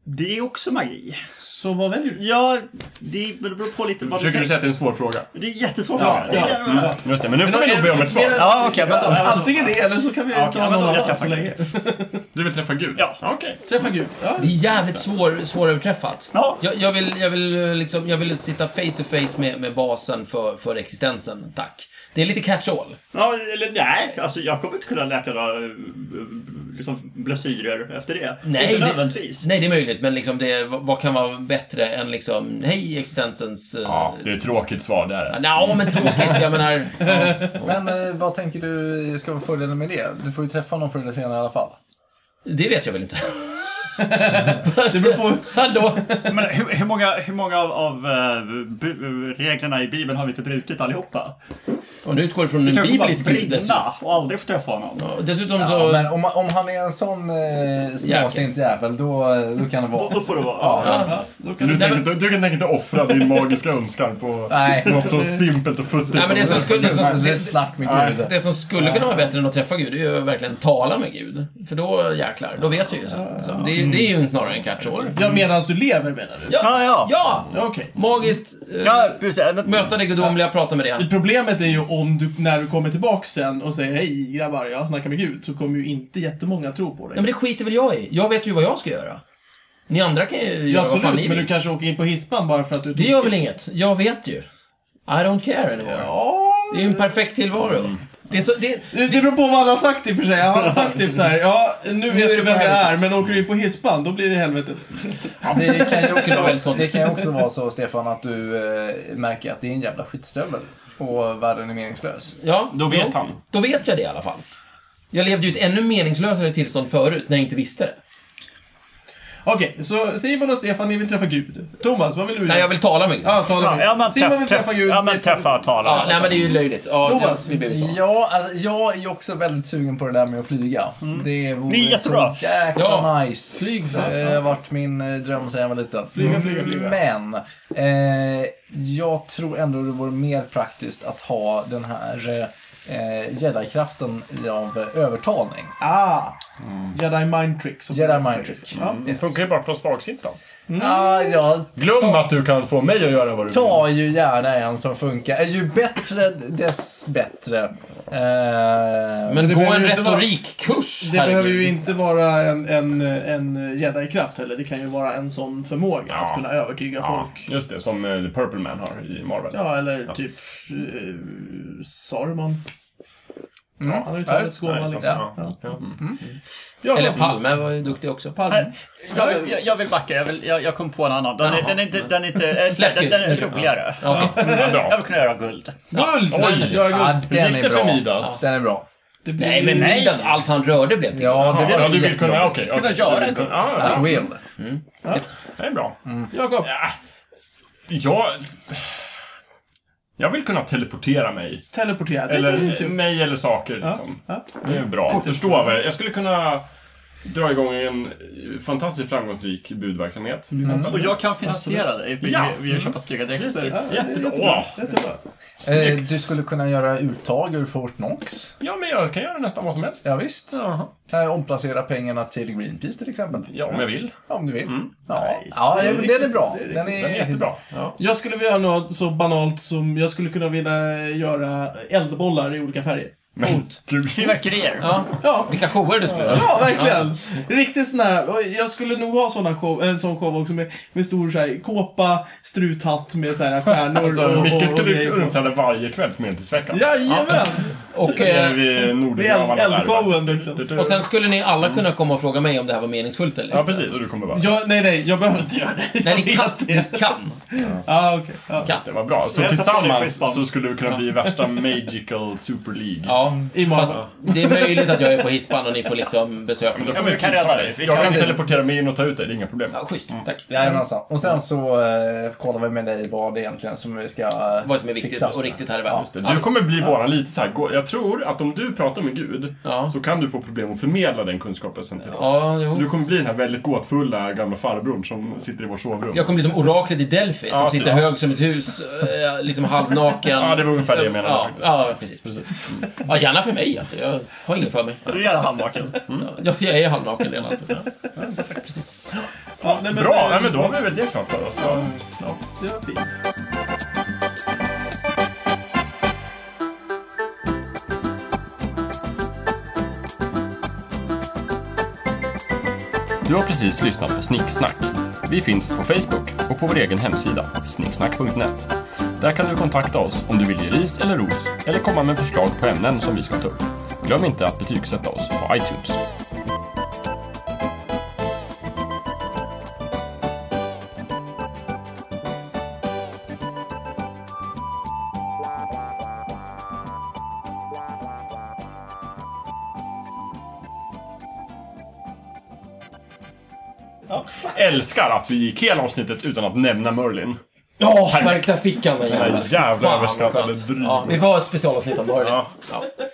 Speaker 4: det är också magi.
Speaker 1: Så vad väljer du?
Speaker 4: Ja, det beror på lite vad du
Speaker 3: Försöker du
Speaker 4: tänker.
Speaker 3: säga att det är en svår fråga?
Speaker 4: Det är jättesvårt. Ja,
Speaker 1: ja.
Speaker 3: Mm, just det, men nu får vi nog be om ett svar.
Speaker 4: ja okej. men då-
Speaker 1: Antingen det eller så kan vi
Speaker 4: Ja,
Speaker 1: ta
Speaker 4: men
Speaker 1: någon
Speaker 4: då
Speaker 1: annan
Speaker 4: jag
Speaker 1: så
Speaker 4: träffar
Speaker 1: länge.
Speaker 4: Gud.
Speaker 3: Du vill träffa Gud?
Speaker 4: Ja.
Speaker 3: Okej.
Speaker 1: Träffa Gud. Ja.
Speaker 2: Det är jävligt svår, svåröverträffat.
Speaker 4: Ja.
Speaker 2: Jag, jag, vill, jag, vill, eh, liksom, jag vill sitta face to face med, med basen för, för existensen, tack. Det är lite catch-all.
Speaker 4: Ja, eller nej. Alltså jag kommer inte kunna läka några eh, liksom, blessyrer efter det.
Speaker 2: Nej,
Speaker 4: inte
Speaker 2: det-
Speaker 4: nödvändigtvis.
Speaker 2: Nej, det är möjligt, men liksom det, vad vad kan vara bättre än liksom, hej existensens... eh,
Speaker 3: Ja, det är ett tråkigt svar där.
Speaker 2: Nja, men tråkigt. Jag menar...
Speaker 5: Men eh, vad tänker du ska vara fördelen med det? Du får ju träffa någon förr eller senare i alla fall.
Speaker 2: Det vet jag
Speaker 4: [laughs]
Speaker 2: väl inte.
Speaker 1: Det beror på-
Speaker 2: [laughs] Hallå?
Speaker 4: Men hur, hur, många, hur många av, av eh, bu- reglerna i Bibeln har vi inte brutit allihopa?
Speaker 2: Om du utgår från
Speaker 4: Vi
Speaker 2: en
Speaker 4: kan ju bara
Speaker 2: biblisk gud dessutom.
Speaker 4: brinna och aldrig få träffa honom.
Speaker 2: Ja, Dessutom
Speaker 5: Ja,
Speaker 2: så...
Speaker 5: men om, om han är en sån eh, småsint jävel, då, då kan det
Speaker 4: Då,
Speaker 5: vara...
Speaker 4: då får det vara. Ja.
Speaker 1: Ja, då kan
Speaker 3: Du,
Speaker 1: du...
Speaker 3: tänker, inte- du kan tänka inte offra din magiska önskan på
Speaker 5: Nej.
Speaker 3: något så simpelt och futtigt
Speaker 2: Nej, men det är
Speaker 3: som
Speaker 2: så skulle- så-
Speaker 5: Det är ett snack med Gud.
Speaker 2: Det som skulle kunna vara bättre än att träffa Gud, det är ju att verkligen tala med Gud. För då jäklar, då vet jag ju. Så, liksom. det, är- det är ju snarare en catch-all.
Speaker 1: Ja, medan du lever menar du?
Speaker 4: Ja, ja.
Speaker 2: Ja!
Speaker 1: Okej.
Speaker 2: Magiskt. eh,
Speaker 4: Ja, precis. Men-
Speaker 2: Möta det gudomliga, prata med det.
Speaker 1: Problemet är ju om du, när du kommer tillbaka sen och säger hej grabbar, jag snackar med Gud, så kommer ju inte jättemånga tro på dig.
Speaker 2: Nej, men det skiter väl jag i. Jag vet ju vad jag ska göra. Ni andra kan ju
Speaker 1: ja,
Speaker 2: göra vad fan ni
Speaker 1: absolut, men du
Speaker 2: vill.
Speaker 1: kanske åker in på hispan bara för att du
Speaker 2: Det gör väl inget. Jag vet ju. I don't care anymore.
Speaker 1: Ja,
Speaker 2: Det är ju en perfekt tillvaro. Det är så, det,
Speaker 1: det det beror på vad alla har sagt i och för sig. Han har sagt typ så här, ja, nu vet
Speaker 2: är
Speaker 1: du
Speaker 2: det
Speaker 1: vem
Speaker 2: på
Speaker 1: jag är,
Speaker 2: helvetet.
Speaker 1: men åker du in på hispan, då blir det helvetet.
Speaker 5: Det kan ju också
Speaker 2: vara väldigt
Speaker 5: vara,
Speaker 2: sånt.
Speaker 5: det kan ju också vara så, Stefan, att du eh, märker att det är en jävla skitstövel och världen är meningslös.
Speaker 2: ja,
Speaker 3: Då vet
Speaker 2: jo.
Speaker 3: han.
Speaker 2: Då vet jag det i alla fall. Jag levde ju ett ännu meningslösare tillstånd förut när jag inte visste det.
Speaker 1: Okej, så Simon och Stefan, ni vill träffa Gud. Thomas, vad vill du
Speaker 2: Nej, jag vill tala med Gud.
Speaker 1: Ja, tala med
Speaker 4: Ja, men
Speaker 1: Simon vill
Speaker 4: träff-
Speaker 1: träffa Gud.
Speaker 4: Ja, men
Speaker 1: Stefan-
Speaker 4: träffa och tala.
Speaker 2: Ja, nej men det är ju löjligt. Ja,
Speaker 1: Thomas.
Speaker 2: det, det blir ju så.
Speaker 5: Ja, alltså, jag är också väldigt sugen på det där med att flyga. Det vore
Speaker 4: Ni är jättebra.
Speaker 5: så jäkla
Speaker 2: Ja.
Speaker 5: nice.
Speaker 2: Flyg
Speaker 5: Det har varit min eh, dröm sedan jag var liten. Mm.
Speaker 1: Flyga, flyga, flyga.
Speaker 5: Men, eh, jag tror ändå det vore mer praktiskt att ha den här eh, Jedi-kraften av övertalning.
Speaker 1: Ah!
Speaker 3: Mm.
Speaker 1: Jedi mind trick. som
Speaker 5: Jedi
Speaker 1: det heter.
Speaker 5: mind trick.
Speaker 3: Det funkar ju bara på svagsintan.
Speaker 5: Ah, jag
Speaker 3: Glöm att du kan få mig att göra vad du vill.
Speaker 5: tar ju gärna en som funkar. Eh, Ju bättre, dess bättre. Eh,
Speaker 2: Men
Speaker 1: det
Speaker 2: gå
Speaker 1: behöver
Speaker 2: en
Speaker 1: ju inte vara-
Speaker 2: retorikkurs,
Speaker 1: Det behöver ju
Speaker 2: herregud.
Speaker 1: inte vara en, en, en jedi-kraft heller. Det kan ju vara en sån förmåga att
Speaker 3: Ja.
Speaker 1: kunna övertyga
Speaker 3: Ja,
Speaker 1: folk.
Speaker 3: just det. Som eh, The Purple Man har i Marvel.
Speaker 1: Ja, eller typ eh, Saruman.
Speaker 3: Mm.
Speaker 1: Han har ju
Speaker 5: Ja,
Speaker 1: tagit
Speaker 5: just
Speaker 1: gåva
Speaker 3: Nej,
Speaker 1: liksom.
Speaker 3: så-
Speaker 1: Ja.
Speaker 3: ja. Mm. Ja.
Speaker 1: Ja,
Speaker 2: Eller
Speaker 1: men-
Speaker 2: Palme var ju duktig också.
Speaker 1: Palme.
Speaker 4: Jag, vill- jag, jag vill backa. Jag, vill, jag, jag kom på en annan. Den är, den är, inte, den är, inte, eh,
Speaker 2: Släpp
Speaker 4: den, den är
Speaker 2: Gud.
Speaker 4: roligare.
Speaker 2: Ja, okej.
Speaker 3: Vad
Speaker 4: Jag
Speaker 3: bra.
Speaker 4: vill kunna göra guld.
Speaker 1: Guld!
Speaker 2: Oj.
Speaker 1: Göra guld.
Speaker 5: Ja, den
Speaker 3: gick
Speaker 5: är
Speaker 3: det
Speaker 5: bra.
Speaker 3: för Midas?
Speaker 5: Den är bra.
Speaker 1: Det blir
Speaker 2: Nej,
Speaker 1: ju-
Speaker 2: men Midas, allt han rörde blev till.
Speaker 5: Ja, det
Speaker 3: Ja,
Speaker 5: var
Speaker 3: du vill kunna...
Speaker 5: jättejobbigt.
Speaker 3: Okej.
Speaker 4: Kunna
Speaker 3: okej.
Speaker 4: göra
Speaker 3: Du vill kunna- ja,
Speaker 5: At
Speaker 3: ja,
Speaker 5: will.
Speaker 3: Det är bra.
Speaker 1: Jakob.
Speaker 3: Jag... Jag vill kunna teleportera mig.
Speaker 1: Teleportera. Det är ju
Speaker 3: Eller
Speaker 1: tufft.
Speaker 3: mig eller saker liksom.
Speaker 1: Ja.
Speaker 3: Det är bra. att Förstå vad jag- Jag skulle kunna dra igång en eh, fantastiskt framgångsrik budverksamhet.
Speaker 1: Mm.
Speaker 3: till exempel.
Speaker 4: Och jag kan finansiera dig. Vi,
Speaker 3: Ja.
Speaker 4: vi, vi köper snygga dräkter.
Speaker 1: Ja, det är
Speaker 3: Jättebra.
Speaker 1: jättebra.
Speaker 3: Åh.
Speaker 1: Jättebra.
Speaker 5: Eh, du skulle kunna göra uttag ur Fort Knox.
Speaker 3: Ja, men jag kan göra nästan vad som helst.
Speaker 5: Ja, visst.
Speaker 3: Jaha.
Speaker 5: Eh, omplacera pengarna till Greenpeace till exempel.
Speaker 3: Ja, om jag vill.
Speaker 5: Ja, Om du vill. Ja, ja
Speaker 1: Det är
Speaker 5: den,
Speaker 1: riktigt-
Speaker 5: den är bra.
Speaker 1: det är
Speaker 5: Den är,
Speaker 3: Den är jättebra. Ja.
Speaker 1: Jag skulle vilja göra något så banalt som jag skulle kunna vilja göra eldbollar i olika färger.
Speaker 3: Men gud.
Speaker 4: Fyrverkerier.
Speaker 2: Ja.
Speaker 1: Ja,
Speaker 2: Vilka shower du spelar.
Speaker 1: Ja, verkligen. Riktigt sån här. och Jag skulle nog ha såna show, en sån show också med, med stor så här, kåpa, struthatt med så här stjärnor
Speaker 3: Alltså,
Speaker 1: och, och,
Speaker 3: Micke
Speaker 1: och,
Speaker 3: skulle
Speaker 1: grejer på.
Speaker 3: uppträda varje kväll på Medeltidsveckan.
Speaker 1: Jajamän!
Speaker 2: Och,
Speaker 3: Det är
Speaker 2: eh,
Speaker 3: vid
Speaker 1: Det är
Speaker 3: Nordgravarna
Speaker 1: eld-
Speaker 3: där. va?
Speaker 1: eldshowen liksom.
Speaker 2: och sen skulle ni alla kunna komma och fråga mig om det här var meningsfullt eller
Speaker 3: Ja, precis. Och du kommer bara...
Speaker 1: Jag, nej, nej, jag behöver inte göra det. Jag
Speaker 2: Nej, ni kan.
Speaker 1: vet
Speaker 2: Ni
Speaker 1: det.
Speaker 2: kan.
Speaker 1: Ja, okej. Ja.
Speaker 2: kan.
Speaker 3: Det var bra. Så
Speaker 4: Jag satt på det på ett
Speaker 3: tillsammans
Speaker 4: band.
Speaker 3: så skulle du kunna bli värsta Magical Super League.
Speaker 2: Ja. Fast
Speaker 1: Imorgon.
Speaker 2: det är möjligt att jag är på hispan och ni får liksom besöka mig.
Speaker 4: men vi kan rädda dig. Vi
Speaker 3: Jag kan
Speaker 4: kan-
Speaker 3: teleportera mig in och ta ut dig, det är inga problem.
Speaker 2: Ja, schysst.
Speaker 1: Mm.
Speaker 2: Tack.
Speaker 5: Jajamensan. alltså. Och sen så eh, kollar vi med dig vad det egentligen som vi ska eh,
Speaker 2: Vad som är viktigt
Speaker 5: fixas
Speaker 2: och
Speaker 5: med.
Speaker 2: riktigt här i världen.
Speaker 3: Just det. Du kommer bli våran lite så här, gå- jag tror att om du pratar med Gud
Speaker 2: Ja.
Speaker 3: så kan du få problem att förmedla den kunskapen sen till oss.
Speaker 2: Ja,
Speaker 3: Så
Speaker 2: jo.
Speaker 3: Du kommer bli den här väldigt gåtfulla gamla farbrorn som sitter i vårt sovrum.
Speaker 2: Jag kommer bli som oraklet i Delphi som
Speaker 3: Ja,
Speaker 2: sitter
Speaker 3: typ.
Speaker 2: hög som ett hus, eh, liksom halvnaken.
Speaker 3: [laughs] Ja, det var ungefär det jag menade
Speaker 2: Ja,
Speaker 3: faktiskt.
Speaker 2: ja precis, precis. Ja, gärna för mig alltså. Jag har inget för mig.
Speaker 4: Du är jävla handbaken.
Speaker 3: Mm.
Speaker 2: Ja, Jag, jag är halvnaken redan. alltså. Så.
Speaker 1: Ja, nej, men,
Speaker 3: Bra,
Speaker 1: eh,
Speaker 3: ja, men då har vi väl det klart för oss. Ja. Ja.
Speaker 1: Det var fint.
Speaker 3: Du har precis lyssnat på Snicksnack. Vi finns på Facebook och på vår egen hemsida, snicksnack.net. Där kan du kontakta oss om du vill ge ris eller ros eller komma med förslag på ämnen som vi ska ta upp. Glöm inte att betygsätta oss på iTunes. Älskar att vi gick hela avsnittet utan att nämna Merlin.
Speaker 2: Ja, verkligen fick han den
Speaker 3: Den
Speaker 2: jäveln.
Speaker 3: här jävla
Speaker 2: Fan, vad
Speaker 3: överskattade
Speaker 2: skönt.
Speaker 3: dryg.
Speaker 2: Ja, vi får ha ett specialavsnitt om Norrland.
Speaker 3: Ja.
Speaker 2: Ja.